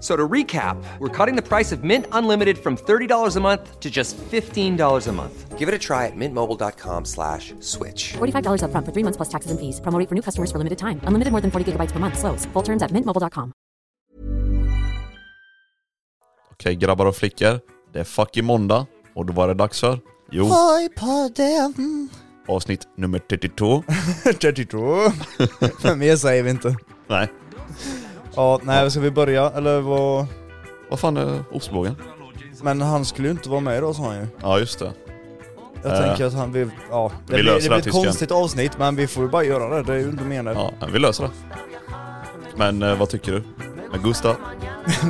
So to recap, we're cutting the price of Mint Unlimited from $30 a month to just $15 a month. Give it a try at mintmobile.com slash switch. $45 up front for three months plus taxes and fees. Promo rate for new customers for limited time. Unlimited more than 40 gigabytes per month. Slows. Full terms at mintmobile.com. Okej grabbar och flickor, det är fucking måndag och då var det dags för Jo, Hoj på den! avsnitt nummer 32 32. Mer säger vi inte. Nej, Ja, nej, ska vi börja? Eller vad... vad fan är ostbågen? Men han skulle ju inte vara med idag sa han ju. Ja just det, Jag Äh. tänker att han vill... Ja, det Vi blir, det löser blir det, ett tysken. konstigt avsnitt men vi får ju bara göra det, det är ju inte meningen. ja vi löser det Men eh, vad tycker du? Med Gustav?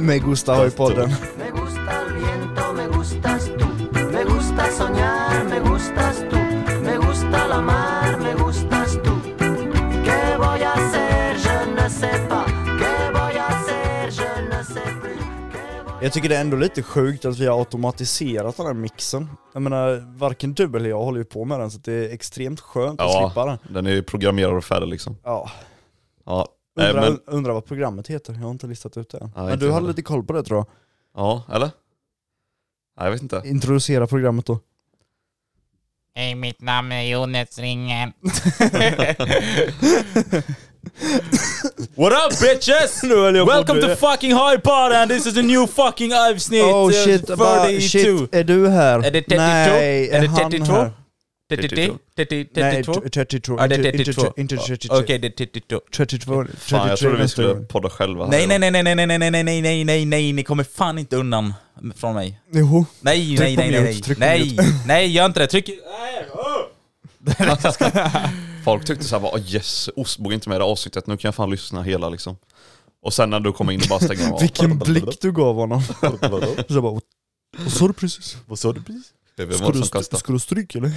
Med Gustav har ju podden. Me gusta el viento, me gustas tú. Me gusta soñar, me gustas tú. Me gusta la mar, me gustas tú. ¿Qué voy a hacer? Je ne sais pas. ¿Qué voy a hacer? Je ne sais plus. ¿Qué voy Jag tycker det är ändå lite sjukt att vi har automatiserat den här mixen. Jag menar, varken du eller jag håller ju på med den så att det är extremt skönt att slippa den. Ja, den är ju programmerad och färdig liksom Ja. Ja, nej, Undrar, men, undrar vad programmet heter, jag har inte listat ut det än. men inte du heller. hade lite koll på det tror jag. ja eller? Nej jag vet inte Introducera programmet då. Hej, mitt namn är Jonas Ringen. What up bitches? Nu höll jag på att Welcome dö. to fucking Hardpodden! This is a new fucking avsnitt! Oh eh, shit, va, 32. shit, är du här? Är det 32? Nej, är, Är det han 32? här? 32? 32? Nej, 32. Ja, det Inte- är inte 32. inte O- 32. Okej, det är 32. 32. Fan jag 33 trodde vi nästa skulle gång. podda själva här Nej, idag. nej, nej, nej, nej, nej, nej, nej, nej, nej, nej, nej, ni kommer fan inte undan från mig. Jo. Nej, Tryck nej, på nej, mute, nej, tryck på nej, mute. nej, gör inte det. Tryck... oh! Folk tyckte såhär, oh yes, ostbågen är inte med i det här avsnittet, nu kan jag fan lyssna hela liksom Och sen när du kommer in och bara stänger av Vilken blick du gav honom. Så jag bara, vad sa du precis? Vad sa du precis? Det var Ska som du, kastade. ska du stryka eller?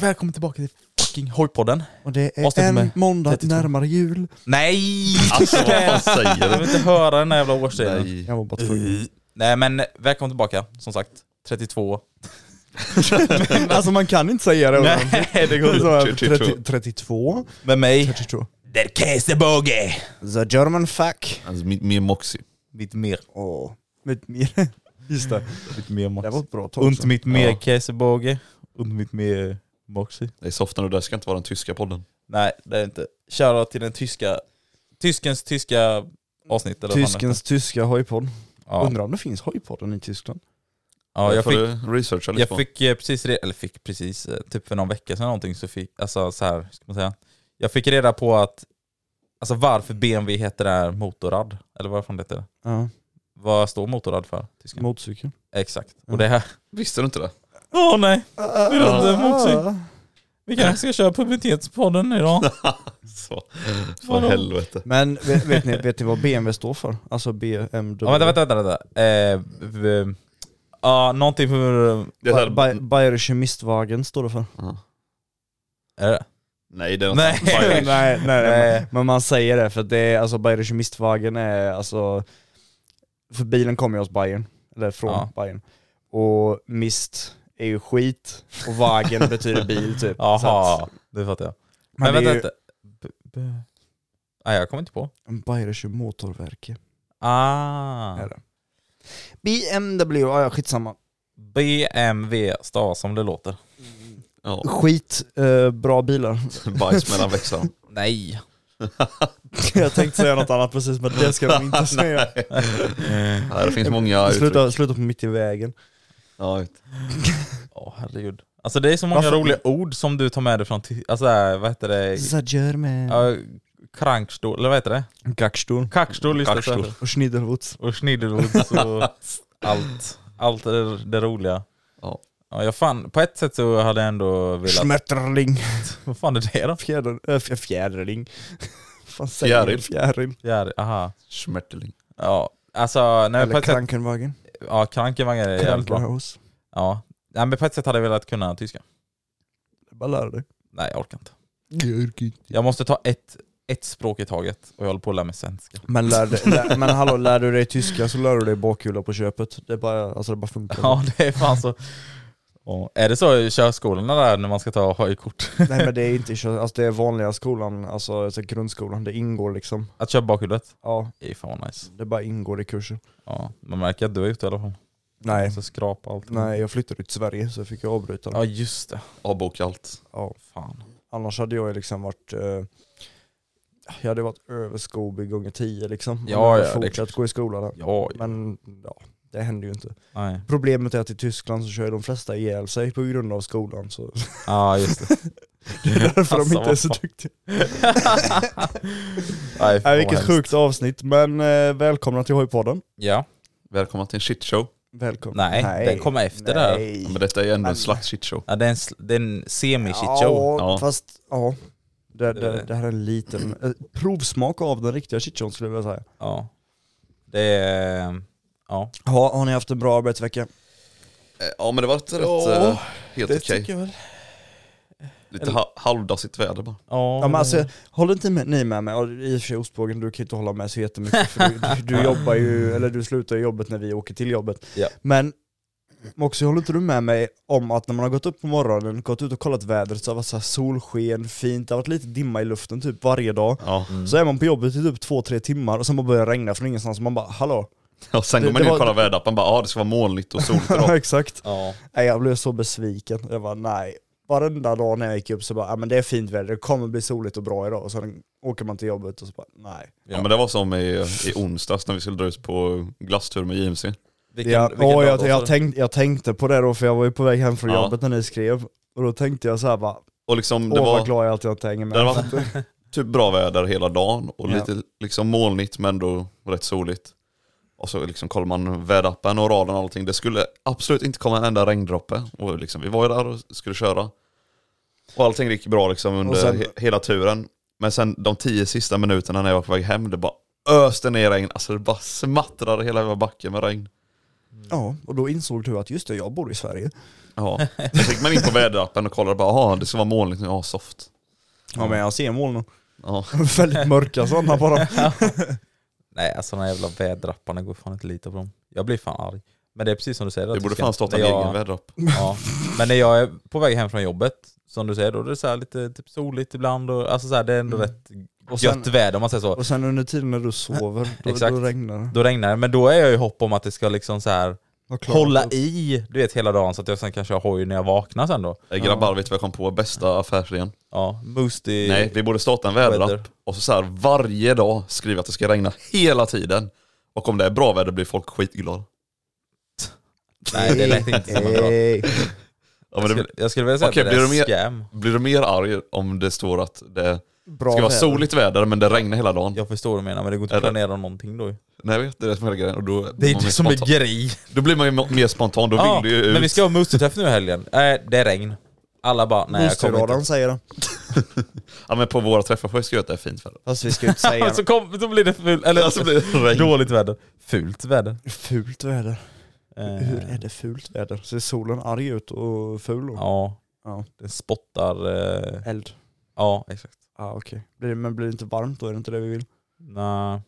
Välkommen tillbaka till fucking Hojpodden. Och det är Avsnitt en nummer måndag 32. närmare jul. Nej! Alltså vad fan Jag säger vill du? inte höra den där jävla årstiden. Nej. Jag var bara tvungen. Nej, men välkommen tillbaka, som sagt. 32. Alltså man kan inte säga det. Nej, det går Så inte. 32. här, 30 32. Med mig, 32. Der Käsebåge! The German fuck. Alltså, min, min moxie. Mitt mer. Åh. Mitt mer. Just det. Mitt mer Det var ett bra tag. Und mitt mer Ja. Käsebåge. Und mitt mer Moxie. Det är soften och det ska inte vara den tyska podden. Nej, det är inte. Shoutout till den tyska... Tyskens tyska avsnitt eller vad fan Tyskens tyska hojpodd. det är. ja. Undrar om det finns hojpodden i Tyskland? ja, Det jag får fick... du researcha lite Jag på. fick eh, precis, re- eller fick precis, eh, typ för någon vecka sedan någonting så fick, alltså så här, ska man säga. Jag fick reda på att, alltså varför BMW heter det här motorrad, eller vad fan det heter. Ja. Vad står motorrad för? Tyska. Motorcykel. Exakt. Mm. Och det här... Visste du inte det? Åh nej, Vi rullar motorcykel. vi kanske ska köra pubertetspodden idag. Så, för Vadå? helvete. Men vet, vet, ni, vet ni vad BMW står för? Alltså BMW? Ja, vänta, vänta, vänta. vänta. Eh, v- Ja, någonting för... Det är så här, Ba- Ba- Bayerische Mistwagen står det för. Är det? nej det är något Nej. Bayern. nej, Nej. Men man säger det för att det är, alltså Bayerische Mistwagen är alltså, för bilen kommer ju hos Bayern, eller från Ja. Bayern. Och Mist är ju skit och Wagen betyder bil typ. Så att- Jaha, det fattar jag. Men, det är vänta ju- lite. B- b- Nej, jag kommer inte på. Bayerische Motorwerke Ah. är det. BMW, ah, ja ja, skitsamma. BMW stavas som det låter. Ja, Skit, eh, bra bilar. bajs mellan växlarna. Nej. Jag tänkte säga något annat precis men det ska de inte säga. Ja, det finns många uttryck. Sluta, sluta på mitt i vägen. Ja, vet. Åh herregud. Alltså det är så många Varför- roliga ord som du tar med dig från, ty- alltså äh, vad heter det? Zajermen. Ja, krankstol, eller vad heter det? Gackstol. Kackstol just det. Kackstol. så heter det. Och Schneiderwoods. Och schniddelwoods och allt. Allt det, det roliga. Ja. Ja, jag fan, på ett sätt så hade jag ändå velat... Schmetterling. Vad fan är det då? Fjäder, äh, fjä- fjäderling. Fan säger Fjäril. du? Fjäril. Fjäril, aha. Schmetterling. Ja, alltså... Nej, på Eller ett sätt, Krankenwagen. ja, krankenvagnar är jävligt bra. Krankenhaus. Ja. Nej, men på ett sätt hade jag velat kunna tyska. Bara lär dig. Nej, jag orkar inte. Jag orkar inte. Jag måste ta ett, ett språk i taget och jag håller på att lära mig svenska. Men, lär, dig- lär, men hallå, lär du dig tyska så lär du dig bakhjula på köpet. Det bara, alltså det bara funkar. Ja det är fan så. Ja, är det så i körskolorna där när man ska ta hojkort? Nej men det är inte kö- alltså det är vanliga skolan, alltså, alltså grundskolan, det ingår liksom. Att köra bakhjulet? Ja, Det är fan vad nice. det bara ingår i kursen. Ja, man märker att du är ute i alla fall. Nej, Så skrapa allt. nej jag flyttade ut till Sverige så jag fick jag avbryta det. Ja just det. Avboka allt. Ja. Fan. Annars hade jag ju liksom varit eh, jag hade varit över Scooby gånger tio liksom. Om Ja, jag hade ja, det är fortsatt klart. gå i skolan där. Ja, ja. Men ja, det händer ju inte. nej. Problemet är att i Tyskland så kör ju de flesta ihjäl sig på grund av skolan så Ja just det. det är därför de Alltså, inte är vad så fan. duktiga. Nej, fan Nej, vad vilket hemskt. sjukt avsnitt, men eh, välkomna till Hojpodden. Ja. Välkomna till en shitshow. Välkomna. Nej, den kommer efter där. Ja, men detta är ju ändå en slags shitshow. Ja, det är en, sl- det är en semi-shitshow. Ja, Ja. fast ja. Det, det, Det- det här är en liten eh, provsmak av den riktiga shitshowen skulle jag vilja säga. Ja. Det är... Ja. Ha, har ni haft en bra arbetsvecka? Eh, Ja men det var ett rätt, Ja, eh, helt okej. jag väl. Lite ha- halvdassigt väder bara. Ja, Ja, men alltså, håller inte med, ni med mig? Och I och för sig ostbågen, du kan ju inte hålla med så jättemycket för du, du, du jobbar ju, eller du slutar ju jobbet när vi åker till jobbet. Ja. Men Moxie, håller inte du med mig om att när man har gått upp på morgonen, gått ut och kollat vädret så har det varit så här solsken, fint, det har varit lite dimma i luften typ varje dag. Ja. Så är man på jobbet i typ två, tre timmar och sen bara börjar det regna från ingenstans och man bara hallå? Och sen Det- går man det in var- och kollar väderappen bara ja det ska vara molnigt och soligt idag. Exakt. ja. Nej, jag blev så besviken. Jag bara nej. Varenda dag när jag gick upp så bara, ja men det är fint väder, det kommer bli soligt och bra idag. Och sen åker man till jobbet och så bara nej. Ja men det var som i, i onsdags när vi skulle dra ut på glasstur med JMC. Vilken, ja, vilken åh, dag jag, då, jag, så- tänkte, jag tänkte på det då för jag var ju på väg hem från Ja. jobbet när ni skrev. Och då tänkte jag så här bara, Och liksom det åh var... vad glad jag är att jag inte hänger med. Det var typ bra väder hela dagen och Ja. lite liksom molnigt men ändå rätt soligt. Och så liksom kollar man väderappen och raden och allting. Det skulle absolut inte komma en enda regndroppe. Och liksom, vi var ju där och skulle köra. Och allting gick bra liksom under Och sen- he- hela turen. Men sen de tio sista minuterna när jag var på väg hem, det bara öste ner regn. Alltså det bara smattrade hela jävla backen med regn. Ja, och då insåg du att just det, jag bor i Sverige. Ja. Då fick man in på väderappen och kollade bara, jaha det ska vara molnigt nu, ja soft. Ja men jag ser molnen. Ja. Väldigt mörka sådana bara. Nej alltså de här jävla väderapparna går fan inte att lita på dem. Jag blir fan arg. Men det är precis som du säger. Det att borde tyskarna- fan stått när en jag- egen väderapp. Ja. Men när jag är på väg hem från jobbet, som du säger, då är det så här lite typ soligt ibland och alltså så här, det är ändå rätt Mm. Och sen- gött väder om man säger så. Och sen under tiden när du sover, då, Exakt. då regnar det. Då regnar det, men då är jag i hopp om att det ska liksom så här Vad klart. hålla i, du vet hela dagen så att jag sen kanske har hoj när jag vaknar sen då. Eh, Grabbar, vet du vad jag kom på? Bästa affärsidén. Ja, Moosty... Nej, vi borde starta en väderapp Weather. och så, så här varje dag skriva att det ska regna hela tiden. Och om det är bra väder blir folk skitglada. Nej det lät inte som en bra. Ey. Ja, Jag men skulle, det, jag skulle vilja säga Okej, att det blir är du mer- scam. blir du mer arg om det står att det Bra ska vara väder. soligt väder men det regnar hela dagen? Jag förstår vad du menar men det går inte att Eller- planera någonting då ju. Nej, jag vet, det är det som är hela grejen. Och då, Det är man mer det som är spontan. grej. Då blir man ju mo- mer spontan, då Ja, vill du ju ut. men vi ska ha Moosty-träff nu i helgen. Nej, det är regn. Alla bara, nej jag kommer Bostadradaren inte. säger det. Ja men på våra träffar får jag skriva att det är fint väder. Fast vi ska ju inte säga Så, kom, så blir det fult, eller Alltså blir det regn. dåligt väder. Fult väder. något. Eh, Fult väder. Hur är det fult väder? Ser solen arg ut och ful då? Ja, Ja. den spottar... Eh, Eld. ja, exakt. Ja ah, okej. Blir det- Men blir det inte varmt då? Är det inte det vi vill? Nej,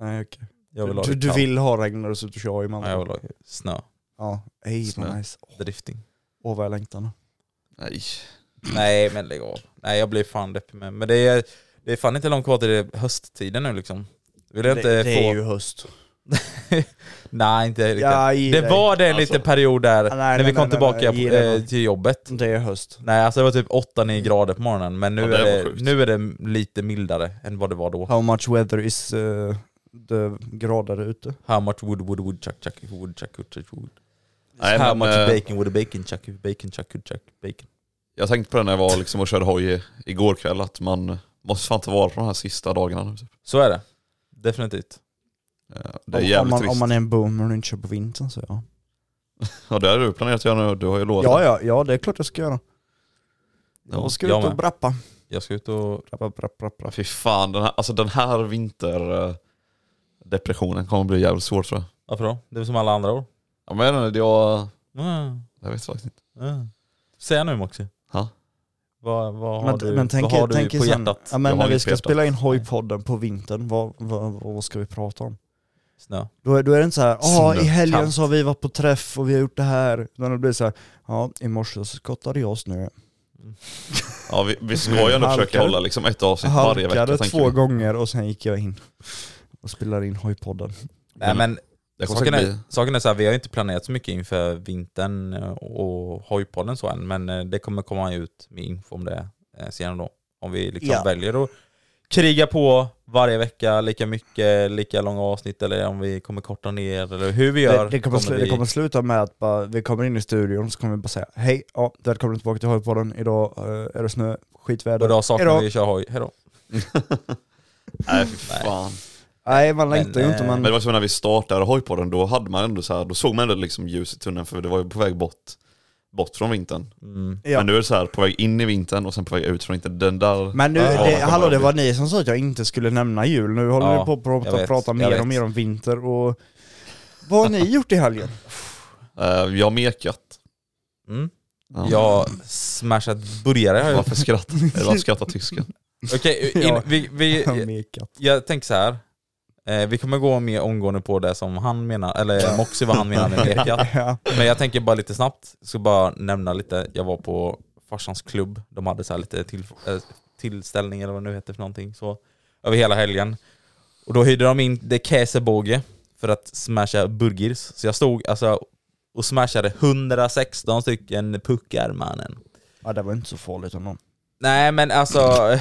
Nej okej. jag vill ha Du, det du kallt. vill ha regn när du sitter och kör i man? Nej, jag vill ha snö. Ja, ej Snö. vad nice. Åh Drifting. åh, vad jag längtar nu. Nej. Nej men lägg av. Nej jag blir fan deppig med. Men det är, det är fan inte långt kvar till det hösttiden nu liksom. Vill jag inte få... höst. Nej inte riktigt. Ja, i det dig. var det en liten period där alltså- nej, när nej, vi kom nej, nej, tillbaka nej, ge det eh, då. till jobbet. Det är höst. Nej alltså det var typ 8-9 grader på morgonen men nu, Ja, det är var det, sjukt. nu är det lite mildare än vad det var då. How much weather is uh, the grader ute? How much wood wood wood chuck chuck wood chuck wood chuck wood. Nej, How men, much eh, bacon would a bacon chuck bacon chuck wood chuck bacon. Jag tänkte på det när jag var liksom och körde hoj i- igår kväll, att man måste fan ta vara på de här sista dagarna nu. typ. Så är det. Definitivt. Eh, Det är Om- om, jävligt man, trist. om man är en boomer och inte kör på vintern så ja. Ja det har du planerat att göra nu, du har ju lovat Ja, ja, ja det är klart jag ska göra. Ja, Jag ska jag ut och med. brappa. Jag ska ut och... Brappa, brappa, brappa. Ja, fy fan, den här, alltså den här vinterdepressionen kommer bli jävligt svår tror jag. Varför då? Det är som alla andra år. Ja, men jag, vet inte, jag, Mm. jag vet faktiskt inte. Mm. Säg nu Moxie. Ja. Vad, vad har Men, du, men tänk, vad har tänk du er på sen, hjärtat? ja, Jag men har när vi inget ska på hjärtat. spela in hojpodden på vintern, vad, vad, vad ska vi prata om? Snö. Då är, då är det inte så här, ja Snö, i helgen kallt." så har vi varit på träff och vi har gjort det här. Utan det blir så här, ja i morse så skottade jag snö. Ja, vi, vi ska ju ändå försöka Halkade. hålla liksom ett avsnitt varje vecka Halkade tänker två vi. gånger och sen gick jag in och spelade in hojpodden. Nej men Det kommer saken säkert är, bli. saken är så här, vi har ju inte planerat så mycket inför vintern eh, och hojpodden så än, men eh, det kommer komma ut med info om det eh, senare då. Om vi liksom Ja. väljer att kriga på varje vecka, lika mycket, lika långa avsnitt eller om vi kommer korta ner eller hur vi gör. det, det, kommer slu, vi- det kommer sluta med att bara, vi kommer in i studion så kommer vi bara säga Hej, ja, välkomna tillbaka till hojpodden, idag eh, är det snö, skitväder. och då saknar Hejdå. vi att köra hoj. Hejdå. Nej fy fan. Nej man Men, längtar ju inte eh, Men det men... var som när vi startade hojpodden, då hade man ändå så här, då såg man ändå liksom ljus i tunneln för det var ju på väg bort, bort från vintern. Mm. Ja. Men nu är det så här på väg in i vintern och sen på väg ut från vintern. Den där... Men nu, Ja, kommer det, hallå det bli. var ni som sa att jag inte skulle nämna jul, nu håller Ja, ni på att jag prata, vet, prata jag mer vet. och mer om vinter och... Vad har ni gjort i helgen? Eh, jag har mekat. Mm. Ja. Jag har smashat burgare har jag gjort. Varför skrattar, eller varför skrattar tysken? Okej, in- Ja. vi, vi, jag tänker så här. Eh, vi kommer gå mer omgående på det som han menar, eller Moxie vad han menar med mekat. Ja. Men jag tänker bara lite snabbt, ska bara nämna lite, jag var på farsans klubb, de hade så här lite till, eh, tillställning eller vad det nu heter för någonting så, över hela helgen. Och då hyrde de in The Käsebåge för att smasha burgers, så jag stod alltså och smashade 116 stycken puckar mannen. ja det var inte så farligt ändå. Nej men alltså,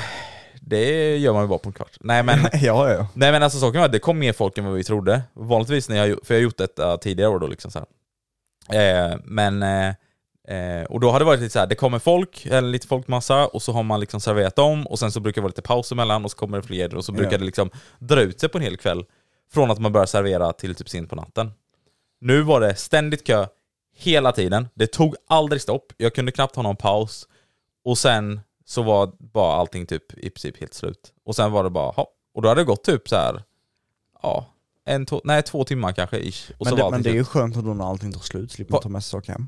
det gör man ju bara på en kvart. Nej men ja ja. Nej men alltså saken var att det kom mer folk än vad vi trodde. Vanligtvis när jag, gjo- för jag har gjort detta tidigare år då liksom så här. Eh, men, eh, eh, och då har det varit lite så här, det kommer folk, eller lite folkmassa, och så har man liksom serverat dem, och sen så brukar det vara lite paus emellan, och så kommer det fler, och så brukar Ja. det liksom dra ut sig på en hel kväll. Från att man börjar servera till typ sent på natten. Nu var det ständigt kö, hela tiden. Det tog aldrig stopp, jag kunde knappt ha någon paus. Och sen så var bara allting typ i princip helt slut. Och sen var det bara, hopp. Och då hade det gått typ så här, ja, en, två, nej två timmar kanske ish. Och Men, så var det, men allting det är slut. ju skönt ändå när allting tar slut, slipper man Va- ta med sig saker hem.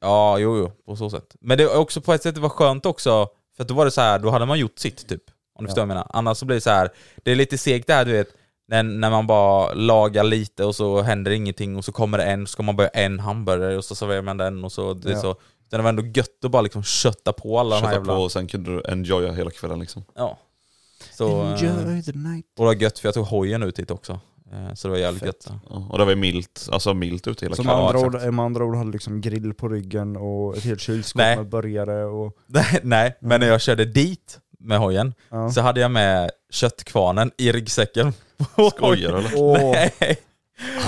Ja, jo, jo, på så sätt. Men det är också på ett sätt det var skönt också, för att då var det så här, då hade man gjort sitt typ. Om du förstår vad jag menar. Annars så blir det så här, det är lite segt det här du vet, när, när man bara lagar lite och så händer ingenting och så kommer det en, så ska man börja en hamburgare och så serverar man den och så. Det, är Ja. så. Utan det var ändå gött att bara liksom kötta på alla de här Köta på jävla... och sen kunde du enjoya hela kvällen liksom. Ja. Så, eh, the night. och det var gött för jag tog hojen ut dit också. Eh, Så det var jävligt gött. där. Ja, och det var ju milt, alltså milt ute hela Så med kvällen. andra, Ja, ord, exakt. med andra ord hade liksom grill på ryggen och ett helt kylskåp Nej. med burgare och... Nej, Nej, men när jag körde dit med hojen Ja. Mm. så hade jag med köttkvarnen i ryggsäcken. Skojar du eller? Alltså, Åh, Nej.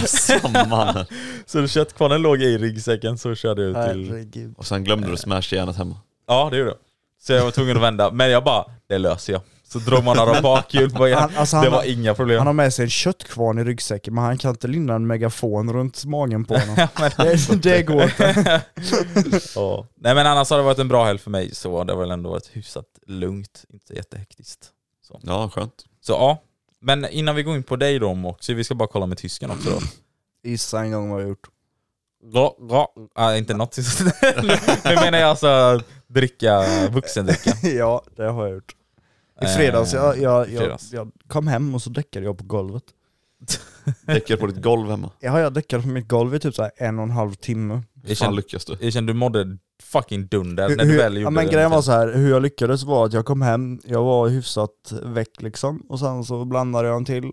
Samma. Så köttkvarnen låg i ryggsäcken så körde jag ut till... herregud. Och sen glömde du smashjärnet hemma. Ja det gjorde jag. Så jag var tvungen att vända, men jag bara, det löser jag. Så drog man några bakhjul på igen. Han- alltså han det var har- inga problem. Han har med sig en köttkvarn i ryggsäcken men han kan inte linda en megafon runt magen på honom. Men- det, det går inte. Ja. Nej men annars har det varit en bra helg för mig så det har väl ändå varit hyfsat lugnt, inte jättehektiskt. Ja, skönt. Så ja, men innan vi går in på dig då Moxie, vi ska bara kolla med tysken också då. Gissa en gång vad jag gjort. Ra, ra. Ah, inte något Nu menar jag alltså dricka, vuxendricka. ja, det har jag gjort. I fredags, jag, jag, Eh, i jag, fredags. jag kom hem och så däckade jag på golvet. Däckar på ditt golv hemma. Ja, jag däckade på mitt golv i typ så här en och en halv timme. Hur fan känner- lyckas du? Jag kände du mådde fucking dunder när Hur- du hur- väl gjorde ja, men det. grejen var så här, hur jag lyckades var att jag kom hem, jag var hyfsat väck liksom, och sen så blandade jag en till,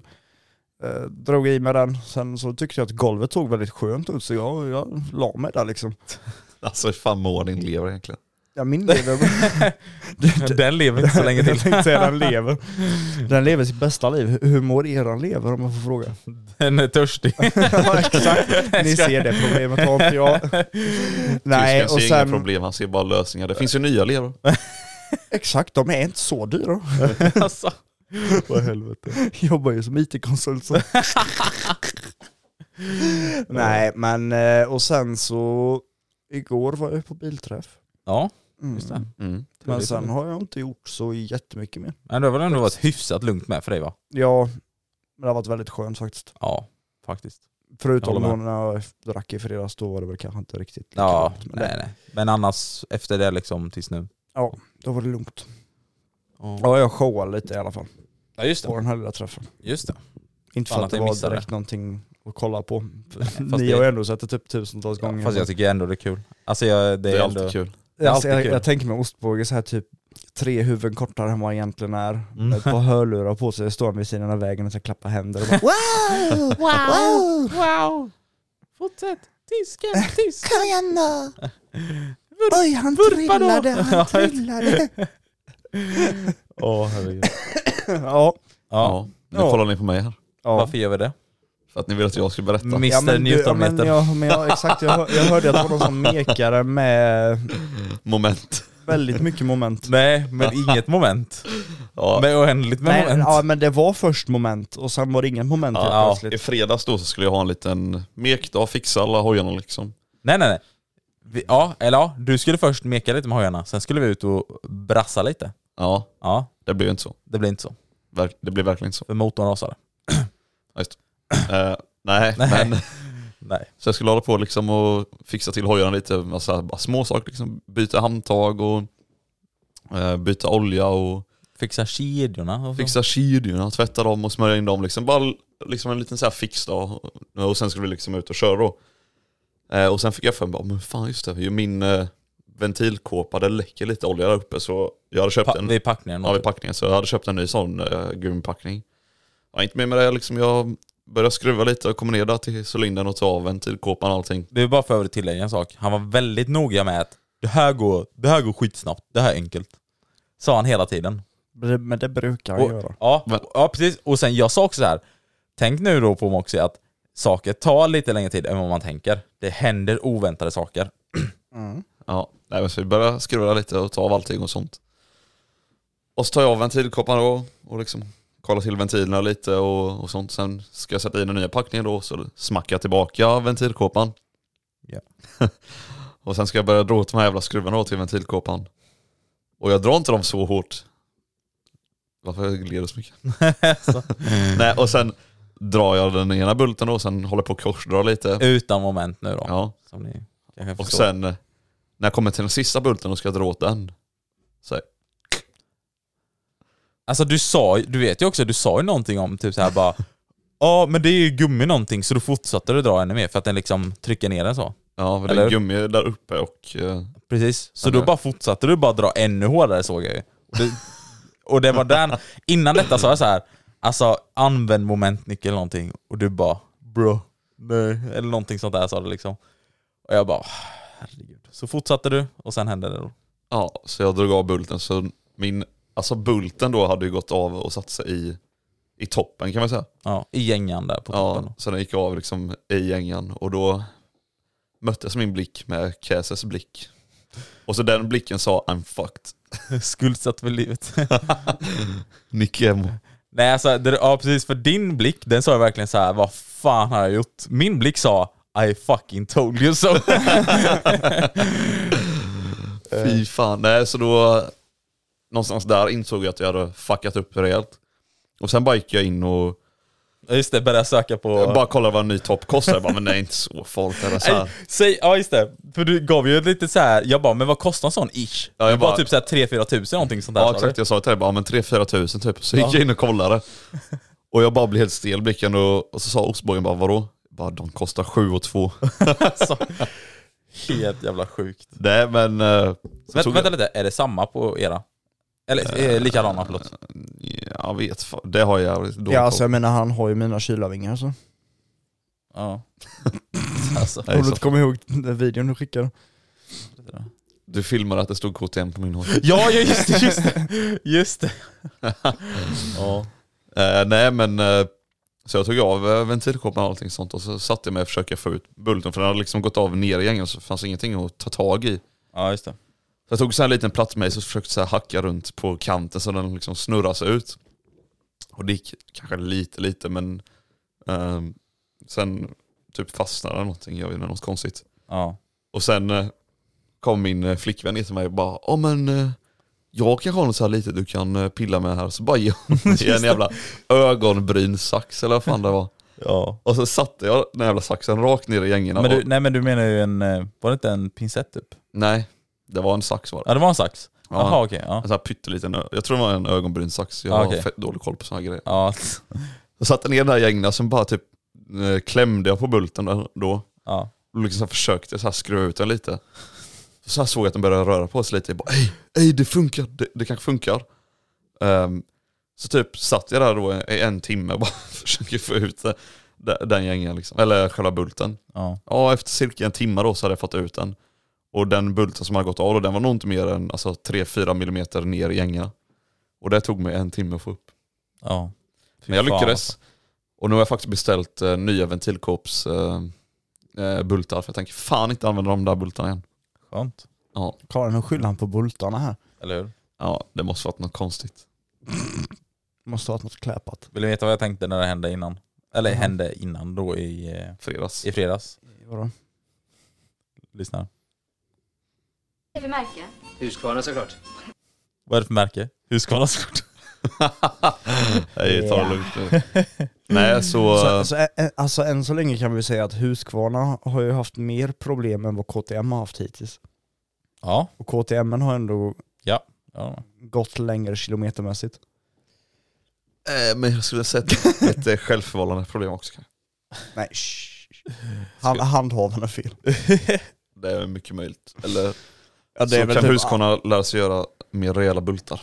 eh, drog i mig den, sen så tyckte jag att golvet såg väldigt skönt ut så jag, jag la mig där liksom. Alltså hur fan mår din lever egentligen? Ja, min lever, Den lever inte så länge jag till. tänkte säga den lever. Den lever sitt bästa liv. Hur- Hur mår eran lever om jag får fråga? Den är törstig. ja, exakt, ni ser det problemet har inte jag. Nej, Tysken och ser inga sen, problem, han ser bara lösningar. Det finns ju nya lever. exakt, de är inte så dyra. alltså. Vad helvete. Jobbar ju som IT-konsult så. Nej men, eh, och sen så, igår var jag på bilträff. Ja, Mm. just det. Mm. Men sen har jag inte gjort så jättemycket mer. Men det har väl ändå varit hyfsat lugnt med för dig va? Ja, men det har varit väldigt skönt faktiskt. Ja, faktiskt. Jag Förutom håller då när jag drack i fredags, då var det väl kanske inte riktigt lika Ja, lugnt, men nej, det- nej. Men annars efter det liksom tills nu. Ja, då var det lugnt. Ja. Ja, jag showade lite i alla fall Ja just på den här lilla träffen. Just det. Inte Fan för att att det jag var missade direkt någonting att kolla på. fast Ni det- har ju ändå sett det typ tusentals Ja, gånger. fast jag tycker ändå det är kul. Alltså jag, det, Det är är ändå... alltid kul. Det är alltså, alltid jag, kul. jag tänker mig ostbåge så här typ tre huvuden kortare än vad han egentligen är. Mm. Med ett par hörlurar på sig, står han vid sidan av vägen och så klappar händer och bara wow! Wow! Wow! Fortsätt! Tisken, tisken! Kom igen då! Oj, han trillade, han trillade. Åh herregud. ja, Ja. Ja. Nu Ja. kollar ni på mig här. ja. Varför gör vi det? För att ni vill att jag ska berätta. Mr Ja, men, du, ja, men, Newtonmeter. jag, men jag, exakt, jag, hör- jag hörde att det var någon som mekade med Moment. väldigt mycket moment. Nej, men inget moment. Ja. Men oändligt med Nej, moment. ja, men det var först moment och sen var det inget moment helt Ja, I plötsligt. fredags då så skulle jag ha en liten mekdag, fixa alla hojarna liksom. Nej, nej, nej. Vi, ja, eller ja, du skulle först meka lite med hojarna, sen skulle vi ut och brassa lite. Ja, Ja, det blev inte så. det blir inte så. Verk- Det blev verkligen inte så. För motorn rasade. Ja, just. Eh, nej, Nej. men Nej. så jag skulle hålla på liksom och fixa till hojarna lite, massa bara små saker liksom. Byta handtag och eh, byta olja och Fixa kedjorna och så. Fixa kedjorna, tvätta dem och smörja in dem. Liksom. Bara l- liksom en liten så här fix då. Och sen skulle vi liksom ut och köra då. Eh, och sen fick jag för mig, bara, men fan just det, ju min eh, ventilkåpa det läcker lite olja där uppe så jag hade köpt Pa- en, vid packningen. ja, vid packningen, så jag hade köpt en ny sån eh, gummipackning. Ja, inte mer med det, liksom, jag började skruva lite och kom ner där till cylindern och tog av ventilkåpan och allting. Det är bara för att tillägga en sak. Han var väldigt noga med att det här går, det här går skitsnabbt, det här är enkelt. Sa han hela tiden. Men det brukar jag Och, göra. ja, Men- ja, precis. Och sen jag sa också så här. Tänk nu då på Moxie att saker tar lite längre tid än vad man tänker. Det händer oväntade saker. Ja, nej, men så vi började skruva lite och ta av allting och sånt. Och så tar jag av ventilkopparna då och liksom kollar till ventilerna lite och, och sånt. Sen ska jag sätta i den nya packningen då så smackar jag tillbaka ventilkåpan. Ja. och sen ska jag börja dra åt de här jävla skruvarna då till ventilkåpan. Och jag drar inte dem så hårt. Varför gled det så mycket? Så, Nej, och sen drar jag den ena bulten då och sen håller på och korsdrar lite. utan moment nu då. Ja. Som ni kanske Och förstår. sen eh, när jag kommer till den sista bulten och ska dra åt den. Så här, Alltså du sa ju- du vet ju också, du sa ju någonting om typ så här bara Ja men det är ju gummi någonting så då fortsatte du dra ännu mer för att den liksom trycker ner den så. Ja, men det Eller? är gummi där uppe och... eh, Precis. Så Eller- då bara fortsatte du bara dra ännu hårdare såg jag ju. Och det, och det var där, innan detta sa jag så här, alltså använd momentnyckel eller någonting och du bara bro, nej. Eller någonting sånt där sa du liksom. Och jag bara herregud. Så fortsatte du och sen hände det då. Ja, så jag drog av bulten så min... Alltså bulten då hade ju gått av och satt sig i, i toppen kan man säga. Ja, i gängan där på toppen. Ja, så den gick av liksom i gängan och då möttes min blick med Käses blick. Och så den blicken sa I'm fucked. Skuldsatt för livet. Nicky Emo. Nej alltså, det, ja precis, för din blick, den sa jag verkligen så här: vad fan har jag gjort? Min blick sa I fucking told you so. Eh, Fy fan. Nej, så då... Någonstans där insåg jag att jag hade fuckat upp rejält. Och sen bara gick jag in och just det, började söka på... bara kollade vad en ny topp kostar. Jag bara, men nej inte så farligt. Eller så här. Nej, säg, ja just det, för du gav ju ett litet så här. jag bara men vad kostar en sån ish? Ja, jag det var bara- typ såhär 3-4 tusen någonting sånt där Ja sa du. exakt, jag sa till dig bara, men 3-4 tusen typ. Så gick jag in och kollade. Och jag bara blev helt stel i blicken och, och så sa ostbågen bara, vadå? Jag Bara, de kostar 7 och 2. Alltså, Helt jävla sjukt. Nej men... eh, Så Vänta, tog vänta lite, är det samma på era? Eller eh, likadana, förlåt. Jag, jag vet fan, det har jag jävligt dålig Ja alltså koll. jag menar han har ju mina kylarvingar så. Ja. Alltså, Nej, Om du så inte kommer ihåg den videon du skickade. Du filmade att det stod KTM på min hoj. ja, ja just det, just det. Just det. ja. Eh, nej men, eh, så jag tog av eh, ventilkåpan och allting sånt och så satte jag mig och försökte få ut bulten för den hade liksom gått av ner i gängen så fanns ingenting att ta tag i. ja, just det. Så jag tog så här en liten plats med och försökte så här hacka runt på kanten så den liksom snurras ut. Och det gick kanske lite, lite men ehm, sen typ fastnade den någonting, jag vet inte, något konstigt. Ja. Och sen eh, kom min eh, flickvän ner till mig och bara ja men eh, jag kanske har något så här litet du kan eh, pilla med här. Så bara ger hon mig en jävla ögonbrynsax eller vad fan det var. ja. Och så satte jag den jävla saxen rakt ner i gängorna. Men du, och, nej men du menar ju en, eh, var det inte en pincett typ? nej, det var en sax var det. Ja det var en sax. Jaha okej. ja. En sån här pytteliten, ö- jag tror det var en ögonbrynsax. Jag Ja, har Ah, okej. fett dålig koll på såna här grejer. ja. Jag satte ner den här gängna, sen bara typ eh, klämde jag på bulten där, då. ja. Och liksom så här försökte så här skruva ut den lite. Så här såg jag att den började röra på sig lite. Jag bara ej, ej det funkar, det, det kanske funkar. Ehm, så typ satt jag där då i en timme och bara försöker få ut det, de- den gängen liksom. Eller själva bulten. Ja. Ja efter cirka en timme då så hade jag fått ut den. Och den bulten som hade gått av då, den var nog inte mer än alltså, 3-4 millimeter ner i gängarna. Och det tog mig en timme att få upp. ja. Fy Men jag fan, lyckades. alltså. Och nu har jag faktiskt beställt eh, nya ventilkåps eh, eh, bultar. För jag tänker fan inte använda de där bultarna igen. Skönt. Ja, Karin, nu skyller han på bultarna här. Eller hur? ja det måste varit något konstigt. Måste ha varit något kläpat. Vill ni veta vad jag tänkte när det hände innan? Eller Mm. Mhm. hände innan då i, eh, Fredags. i fredags. Vadå? Lyssna. Tv-märke. Husqvarna såklart. Vad är det för märke? Husqvarna såklart. Nej, ta det lugnt nu. Nej, så... Så, så, ä- ä- alltså än så länge kan vi säga att Husqvarna har ju haft mer problem än vad KTM har haft hittills. Ja. Och KTM har ändå ja. gått längre kilometermässigt. eh, men jag skulle säga ett, ett eh, självförvållande problem också. kanske. Nej, shh. Han, handhavarna fel. Det är mycket möjligt. Eller Ja, så kan typ... Husqvarna lära sig göra mer rejäla bultar.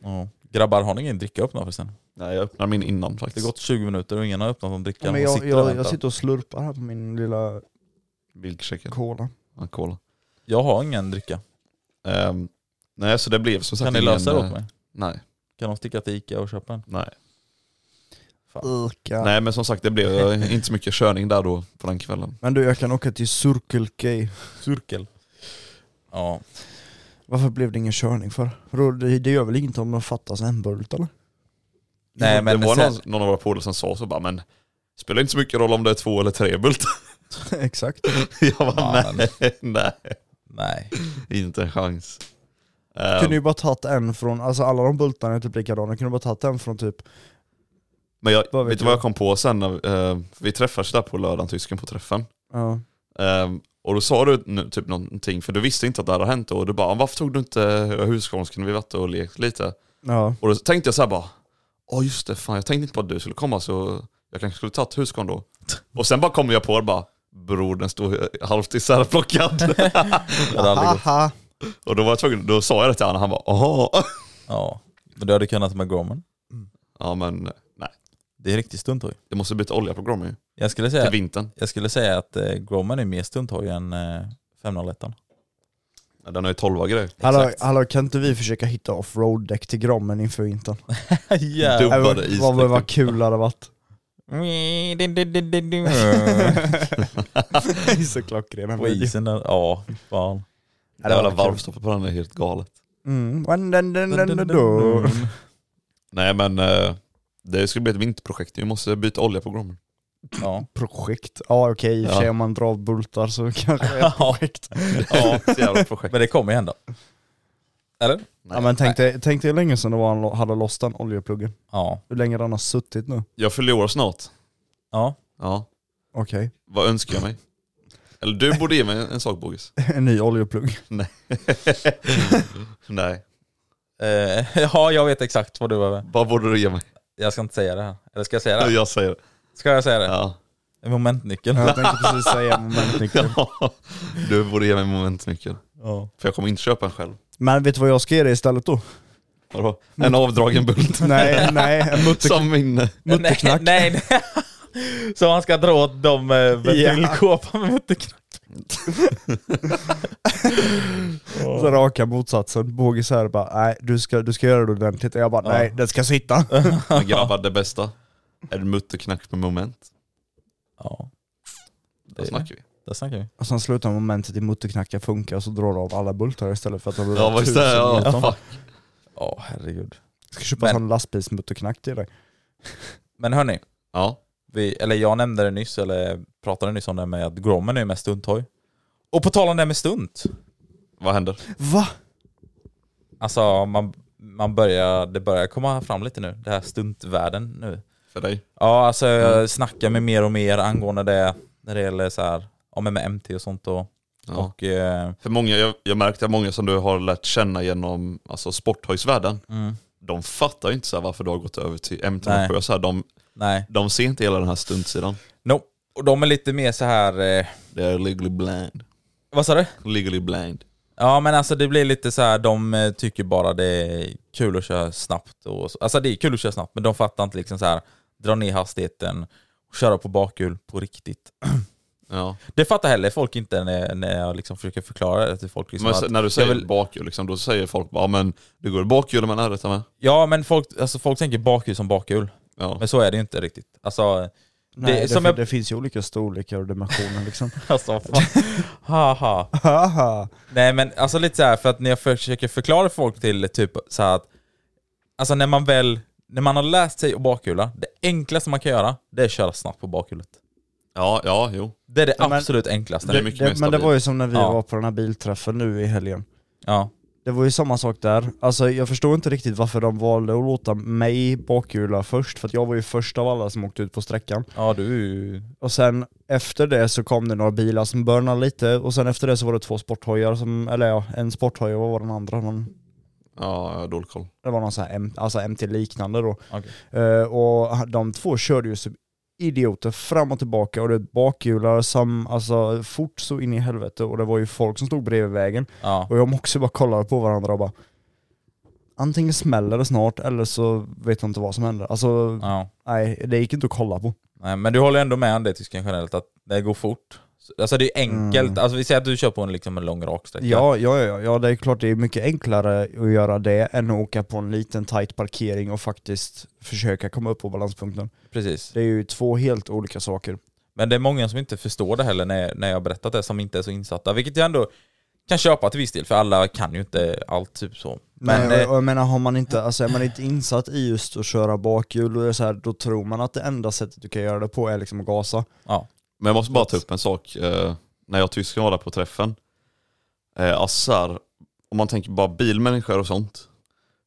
ja. Grabbar, har ni ingen dricka öppna förresten? Nej, jag öppnade min innan Det faktiskt. har gått 20 minuter och ingen har öppnat någon dricka. Ja, men Man jag, sitter och jag, jag väntar. sitter och slurpar här på min lilla Milkshaken. cola. Ja, Cola. jag har ingen dricka. Ehm, nej, så det blev som sagt Kan ni ingen, lösa det åt eh, mig? Nej, Kan de sticka till Ica och köpa en? nej. Öka. Nej men som sagt det blev eh, inte så mycket körning där då på den kvällen. Men du, jag kan åka till Circle K. Cirkel. Ja. Varför blev det ingen körning för? Vadå, Det, det gör väl inget om det fattas en bult eller? Nej men det var sen, någon, någon av våra polare som sa så bara men spelar inte så mycket roll om det är två eller tre bultar. Exakt. Jag bara Ja, nej, nej, Nej. inte en chans. Kunde Ehm, ju bara tagit en från, alltså alla de bultarna är typ likadana, kunde bara tagit en från typ men jag, vad vet vet du vad jag? jag kom på sen? När, eh, vi träffades där på lördagen, tysken på träffen. Ja, Ehm, och då sa du nu, typ någonting, för du visste inte att det hade hänt och du bara varför tog du inte Husqvarna så kunde vi varit och lekt lite. ja, Och då tänkte jag så här bara, ja just det, fan jag tänkte inte på att du skulle komma så jag kanske skulle tagit Husqvarna då. Och sen bara kommer jag på det bara, bror den står eh, halvt isärplockad. Det hade aldrig gått. och då var jag tvungen, då sa jag det till honom, han bara, aha. Ja. Men du hade kunnat med Gorman. Ja men nej, Det är riktigt stunthoj. jag måste byta olja på Grommy ju, Jag skulle till säga, vintern. jag skulle säga att eh, Gorman är mer stunthoj än eh, 501. Ja, Den har ju 12 grej. Hallå, hallå, kan inte vi försöka hitta offroad-däck till Grommen inför vintern? Jävlar. Dubbade Även- isdäck. Vad, vad, vad liksom. kul det hade varit. Det är så klockren den På videon. isen där. Ja, fy fan. Ja, Det det jävla var kul. varvstoppet på den är helt galet. Mm. Dun, dun, dun, dun, dun, dun. Nej men eh, det ska bli ett vinterprojekt, vi måste byta olja på Grommen. Ja. Projekt. Ja okej, i och för Ja. sig om man drar av bultar så kanske det är ett Ja. projekt. ja. Jävla projekt. Men det kommer ju hända. Eller? Ja, men tänk dig, tänk dig hur länge sedan det var han lo- hade loss den oljepluggen. Ja. Hur länge den har suttit nu. Jag fyller år snart. Ja. Ja. Okej, Vad önskar jag mig? Eller du borde ge mig en, en sak Bogis. en ny oljeplugg. Nej, Eh, ja, jag vet exakt vad du behöver. vad borde du ge mig? Jag ska inte säga det här. Eller ska jag säga det? Här? Jag säger det. Ska jag säga det? Ja. En Momentnyckel. Jag tänkte precis säga momentnyckeln. Du borde ge mig momentnyckel. Ja. För jag kommer inte köpa en själv. Men vet du vad jag ska ge dig istället då? Vadå? En avdragen bult. Nej, nej, en mutter, Som min... Nej, mutterknack. nej, nej. Så han ska dra åt dem eh, ventilkåpan med ventilknack. Så raka motsatsen. Bågis här bara, nej du ska, du ska göra det ordentligt. Jag bara, nej den ska sitta. Men grabbar, det bästa. Är det mutterknack med moment? Ja, Där snackar vi. där snackar vi. Och sen slutar momentet i mutterknacka funkar så drar du av alla bultar istället för att det blir Ja, vad är det? Ja, newton. fuck. Ja, herregud. Jag ska köpa Men- en sån lastbilsmutterknack till dig. Men hörni, Ja. vi, eller jag nämnde det nyss, eller pratade nyss om det med att Grommen är mest stunthoj. Och på tal om det här med stunt. Vad händer? Va? Alltså, man, man börjar, det börjar komma fram lite nu, det här stuntvärlden nu. För dig? Ja, alltså jag snackar med mer och mer angående det när det gäller så här, ja, men med MT och sånt och Ja. Och, eh, För många, jag, jag märkte att många som du har lärt känna genom alltså, sporthöjsvärlden, de fattar ju inte så här varför du har gått över till M3 Nej. så här, de, nej. de ser inte hela den här stuntsidan. No. Och de är lite mer så här... Eh, Det är legally blind. vad sa du? Legally blind. Ja men alltså det blir lite så här, de eh, tycker bara det är kul att köra snabbt och så. Alltså det är kul att köra snabbt men de fattar inte liksom så här dra ner hastigheten och köra på bakhjul på riktigt. Ja. Det fattar heller folk inte när, när jag liksom försöker förklara det till folk. Liksom Men att, så- när du säger jag vill- bakhjul, liksom, då säger folk bara "Ja, men det går i bakhjulen man är med. Ja men folk, alltså, folk tänker bakhjul som bakhjul. Ja. Men så är det ju inte riktigt. Alltså, Nej, det, som fin- jag- det finns ju olika storlekar och dimensioner liksom. alltså fan. Haha. Haha! Nej men alltså lite så här för att när jag försöker förklara för folk till typ så här att Alltså när man väl, när man har läst sig att bakhjula, det enklaste man kan göra det är att köra snabbt på bakhjulet. Ja, ja, jo. Det är det Ja, men- absolut enklaste. Det är mycket mer det, men det stabilt. var ju som när vi Ja. var på den här bilträffen nu i helgen. Ja. Det var ju samma sak där. Alltså jag förstår inte riktigt varför de valde att låta mig bakhjula först, för att jag var ju först av alla som åkte ut på sträckan. ja, du är ju... Och sen efter det så kom det några bilar som burnade lite, och sen efter det så var det två sporthojar som, eller ja, en sporthoj och vad var den andra? Någon, Ja, jag har dålig koll. det var någon sån här M, alltså MT-liknande då. Okej. Eh, och de två körde ju som idioter fram och tillbaka och det bakhjular som, alltså fort så in i helvete och det var ju folk som stod bredvid vägen. Ja. Och jag och också bara kollade på varandra och bara Antingen smäller det snart eller så vet jag inte vad som händer. Alltså ja. nej, det gick inte att kolla på. Nej, men du håller ändå med om det tysken generellt, att det går fort. Alltså det är enkelt. Alltså vi säger att du kör på en, liksom, en lång rak sträcka. Mm. Ja, ja, ja, ja, det är klart det är mycket enklare att göra det än att åka på en liten tight parkering och faktiskt försöka komma upp på balanspunkten. Precis. Det är ju två helt olika saker. Men det är många som inte förstår det heller när, när jag har berättat det, som inte är så insatta. Vilket jag ändå kan köpa till viss del, för alla kan ju inte allt typ så. Men, Men, Nej, eh, och jag menar, har man inte, alltså, är man inte insatt i just att köra bakhjul, då, är det så här, då tror man att det enda sättet du kan göra det på är liksom att gasa. ja. Men jag måste bara ta upp en sak. Eh, när jag och tysken var där på träffen, eh, alltså så här, om man tänker bara bilmänniskor och sånt.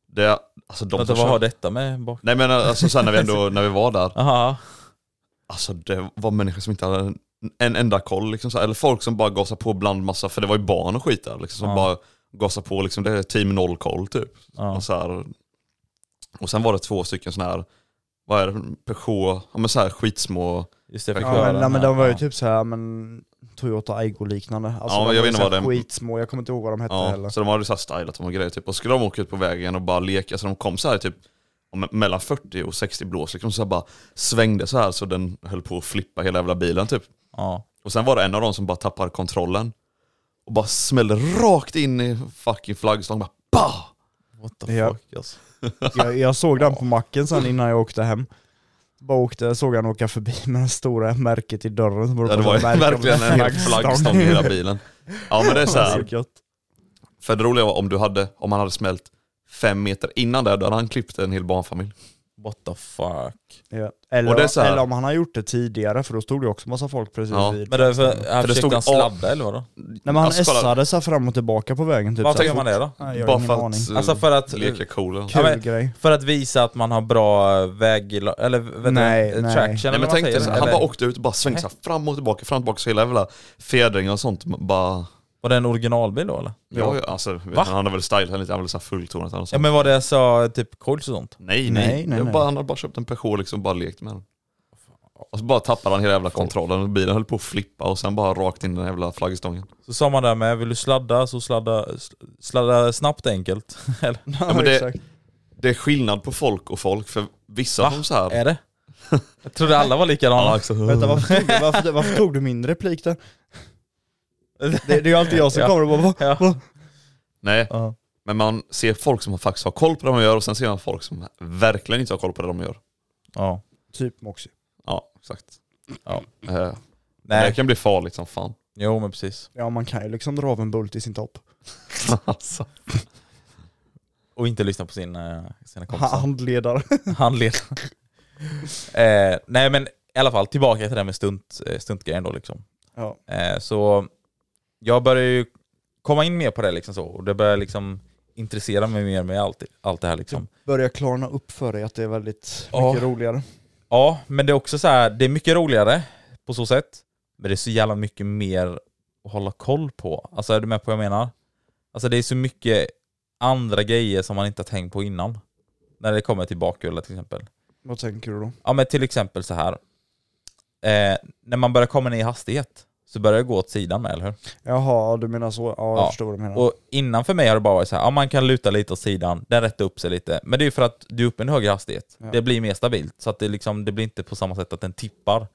Det, alltså de Vänta, som vad kör- har detta med bak... Nej men alltså sen när vi ändå, när vi var där, Aha. alltså det var människor som inte hade en, en enda koll liksom så här. Eller folk som bara gasade på bland massa, för det var ju barn och skit där liksom, som Ja. bara gasade på liksom, det är team noll koll typ. Ja. Och, så här, och sen var det två stycken sådana här, vad är det, Peugeot, ja men så här skitsmå, Just det, jag fick Ja, höra Ja, men, den nej, men här. de var ju Ja. typ så här, men Toyota Aygo liknande. Alltså, Ja, de men jag vet var ju inte så här vad den- Skitsmå, jag kommer inte ihåg vad de hette ja, heller. så de hade så här stylat dem och grejer typ. Och så skulle de åka ut på vägen och bara leka, så de kom så här typ ja, men mellan 40 och 60 blås liksom, så här bara svängde så här så den höll på att flippa hela jävla bilen typ. Ja. Och sen var det en av dem som bara tappade kontrollen och bara smällde rakt in i fucking flaggstången. Bara bah! What the Ja. fuck alltså. Jag, jag såg den på macken sen innan jag åkte hem. Bara åkte, såg han åka förbi med det stora märket i dörren. som Ja, på det var ju att märka verkligen med en hel flaggstång i hela bilen. Ja men det är så Det var här. så gött. För det roliga var om du hade, om han hade smält fem meter innan det, då hade han klippt en hel barnfamilj. What the fuck. Ja. Och Eller, det är så här- eller om han har gjort det tidigare, för då stod det också massa folk precis Ja, vid. Men det, för, han Typ det försökte stod han A- sladda eller vadå? Nej, men han Alltså, kolla. essade sig fram och tillbaka på vägen. Typ, så Varför här gör man fort. det då? Nej, jag har Bara ingen för aning. att, eh, Alltså för att, leka cool. eller? Kul Ja, men- grej. för att visa att man har bra eh, väg... Eller vet Nej, du, nej. traction Nej eller men vad tänk man dig, säger, så här, han eller? bara åkte ut och bara svängde så här fram och tillbaka, fram och tillbaka, så hela jävla fjädringen och sånt bara... Var det en originalbil då eller? Ja, alltså, vet du, Va? han hade väl stylat henne lite, han hade väl så här fulltonat henne och Ja sånt. men var det så typ coils och sånt? Nej, nej. Nej, nej, det nej, var nej. Bara, han hade bara köpt en Peugeot liksom och bara lekt med den. Och så bara tappade han hela jävla kontrollen och bilen höll på att flippa och sen bara rakt in i den jävla flaggstången. Så sa man där med, vill du sladda så sladda, sl- sladda snabbt enkelt. eller? Ja, men det- exakt. Det är skillnad på folk och folk för vissa som så här... Är det? Jag trodde alla var likadana. Vänta, varför tog, du, varför, varför tog du min replik där? Det, det är ju alltid jag som Ja. kommer och bara va? ja. Nej, Ja. men man ser folk som faktiskt har koll på det de gör och sen ser man folk som verkligen inte har koll på det de gör. ja. Typ Moxie. Ja, exakt. Ja. Eh, Det Nej, kan bli farligt som fan. jo men precis. Ja man kan ju liksom dra av en bult i sin topp. alltså. Och inte lyssna på sin, eh, sina kompisar. Handledare. handled. eh, nej men i alla fall, tillbaka till det här med stunt, eh, stuntgrejen då liksom. Ja. Eh, så jag började ju komma in mer på det liksom så, och det började liksom intressera mig mer med allt, allt det här liksom. Börjar klarna upp för dig att det är väldigt Ja. mycket roligare. Ja, men det är också så här, det är mycket roligare på så sätt, men det är så jävla mycket mer att hålla koll på. Alltså är du med på vad jag menar? Alltså det är så mycket andra grejer som man inte har tänkt på innan. När det kommer till bakhjulet till exempel. Vad tänker du då? Ja men till exempel så här. Eh, när man börjar komma ner i hastighet så börjar det gå åt sidan med, eller hur? Jaha, du menar så? Ja, jag Ja. förstår vad du menar. Och innan för mig har det bara varit så här, ja man kan luta lite åt sidan, den rättar upp sig lite. Men det är ju för att du är uppe i en högre hastighet. Det blir mer stabilt, så att det, liksom, det blir inte på samma sätt att den tippar.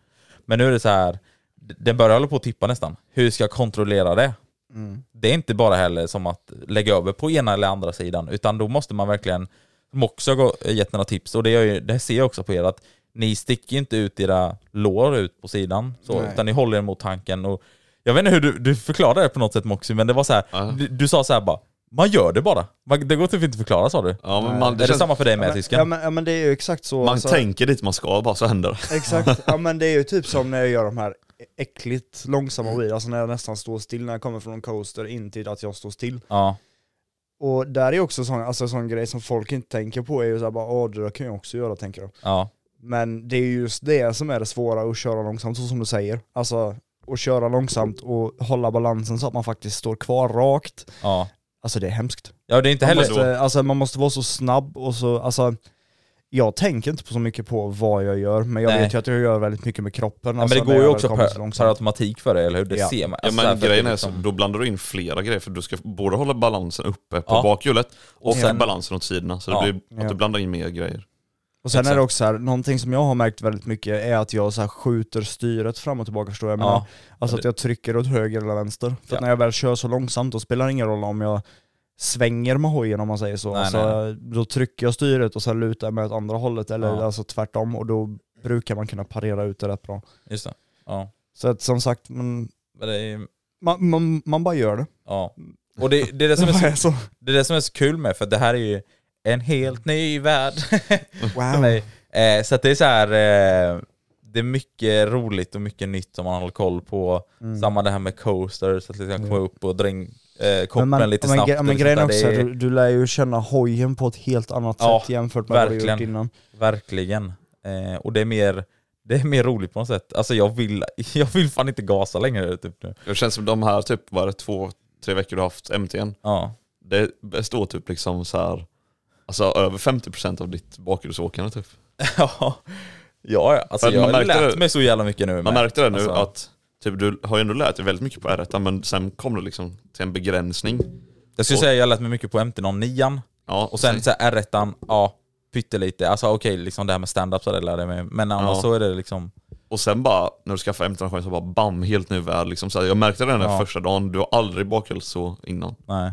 Men nu är det så här, d- den börjar hålla på att tippa nästan. Hur ska jag kontrollera det? Mm. Det är inte bara heller som att lägga över på ena eller andra sidan, utan då måste man verkligen, som också har gå- gett några tips, och det, gör ju, det ser jag också på er, att ni sticker ju inte ut era lår ut på sidan, så, Nej. utan ni håller er mot tanken. Och jag vet inte hur du, du förklarade det på något sätt Moxie, men det var så här, du, du sa så här bara, man gör det bara. Man, det går typ inte att förklara sa du. Ja, men man, är det det känns, samma för dig med men, tysken? ja, men, ja men det är ju exakt så. man alltså. tänker dit man ska bara så händer Alltså, det. Exakt, ja men det är ju typ som när jag gör de här äckligt långsamma wheel, alltså när jag nästan står still när jag kommer från en coaster in till att jag står still. ja. Och där är också sån, alltså sån grej som folk inte tänker på är ju såhär bara, åh det där kan jag också göra tänker de. ja. Men det är ju just det som är det svåra, att köra långsamt så som du säger. Alltså att köra långsamt och hålla balansen så att man faktiskt står kvar rakt. Ja. Alltså det är hemskt. Ja, det är inte Man heller... måste, alltså, man måste vara så snabb och så, alltså jag tänker inte på så mycket på vad jag gör, men jag Nej. vet ju att jag gör väldigt mycket med kroppen. Ja, men det alltså, går när ju jag väl också kommer så per, per långsamt. automatik för dig, eller hur? Det Ja. ser man. Ja, Alltså, därför men att det grejen är liksom- så, då blandar du in flera grejer för du ska både hålla balansen uppe på Ja. bakhjulet och sen- balansen åt sidorna. Så Ja. det blir att Ja. du blandar in mer grejer. Och sen är Exakt. det också så här, någonting som jag har märkt väldigt mycket är att jag så här skjuter styret fram och tillbaka förstår jag Ja. menar. Alltså att jag trycker åt höger eller vänster. För Ja. att när jag väl kör så långsamt då spelar det ingen roll om jag svänger med hojen om man säger så. Nej, alltså, Då trycker jag styret och sen lutar jag mig åt andra hållet eller Ja. alltså tvärtom och då brukar man kunna parera ut det rätt bra. Just det. Ja. Så att som sagt, man, Men det är, man, man, man bara gör det. ja. Och det, det, är det, som är Det så, är så. det är det som är så kul med, för det här är ju en helt ny värld. för Wow. mig. Eh, så att det är så här, eh, det är mycket roligt och mycket nytt som man håller koll på. Samma det här med coaster, så att liksom komma upp och dra in eh, koppen lite Mm. men, snabbt. gre- och men liksom grejen är där också, det är- du, du lär ju känna hojen på ett helt annat Ja, sätt jämfört med vad du gjort verkligen. innan. Verkligen. Eh, och det är, mer, det är mer roligt på något sätt. Alltså jag vill, jag vill fan inte gasa längre typ nu. Det känns som de här typ, vad är det, två, tre veckor du har haft MTn. Ja. Det består typ liksom så här, alltså över 50% av ditt bakhjulsåkande typ. Ja, ja. Alltså För jag man har märkte lärt det- mig så jävla mycket nu. Man med. märkte det nu Alltså, att typ, du har ju ändå lärt dig väldigt mycket på R1 men sen kom du liksom till en begränsning. Jag skulle och- säga jag har lärt mig mycket på MT-09 Ja, och sen så här R1, ja, pyttelite. Alltså okej, liksom det här med stand-up så det lärde jag mig. Men annars Ja. så är det liksom, Och sen bara, när du skaffar M307 så bara bam, helt ny värld. Liksom, så här, jag märkte det den där Ja. första dagen, du har aldrig bakhjuls så innan. nej.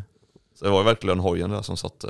Så det var ju verkligen hojen där som satt... Eh,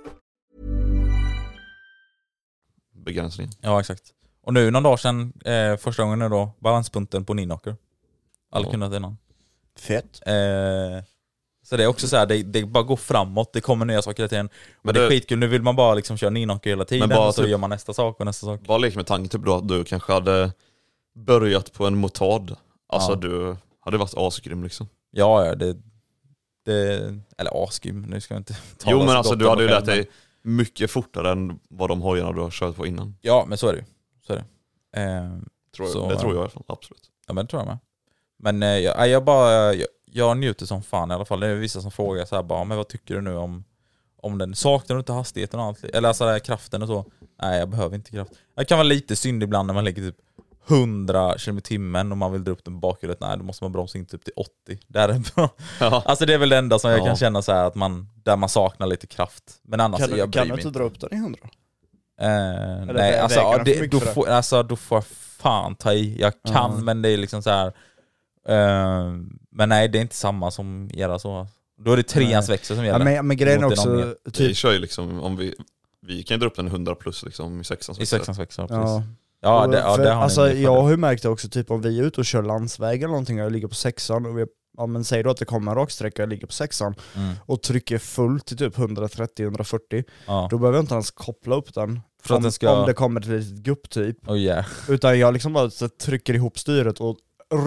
begränsning. Ja exakt. Och nu någon dag sedan, eh, första gången nu då, balanspunkten på Ninocker. Aldrig Ja. kunnat innan. Fett. Eh, så det är också så här, det, det bara går framåt, det kommer nya saker hela tiden. Men Men det är det- skitkul, nu vill man bara liksom köra Ninocker hela tiden bara och så typ- gör man nästa sak och nästa sak. Bara lek med tanken typ då att du kanske hade börjat på en motard. Alltså Ja. du hade varit asgrym liksom. Ja, ja det, det... Eller asgrym, nu ska jag inte tala jo men så alltså gott du om hade ju mig lärt själv, men- dig mycket fortare än vad de hojarna du har kört på innan. Ja, men så är det ju. Så är det. Eh, Tror jag. Så, det ja. tror jag i alla fall, absolut. ja, men det tror jag med. Men eh, jag, nej, jag bara... Jag, jag njuter som fan i alla fall. Det är vissa som frågar så här bara, men vad tycker du nu om, om den? Saknar du inte hastigheten och allt? Eller alltså den här kraften och så? Nej, jag behöver inte kraft. Det kan vara lite synd ibland när man lägger typ 100 km i timmen och man vill dra upp den bakhjulet. Nej, då måste man bromsa in typ till 80. Där är bra. Ja. Alltså det är väl det enda som jag Ja. kan känna så här att man, där man saknar lite kraft. Men annars, Kan, du, Alltså, jag kan bryr du mig inte dra upp den i 100? Eh, Eller nej, vä- alltså, väger ja, de för det, mycket då, för det? får, alltså då får jag fan ta i. Jag kan, men det är liksom så här. eh, men nej, det är inte samma som era så. Då är det treans växel som Ja, gäller. men, men grejen är Mot en också, omgivning. Vi typ, kör ju liksom, om vi, vi kan ju dra upp en 100 plus liksom i sexans I sexans växel, precis. ja, Ja, det, ja, För, det har ni alltså, en del jag fördel. har ju märkt det också, typ om vi är ute och kör landsväg eller någonting och jag ligger på sexan och vi, ja, men säg då att det kommer en raksträcka och jag ligger på sexan Mm. och trycker fullt till typ 130-140 Ja. då behöver jag inte ens koppla upp den För att om, den ska- om det kommer till ett litet gupp typ Oh, yeah. utan jag liksom bara så, trycker ihop styret och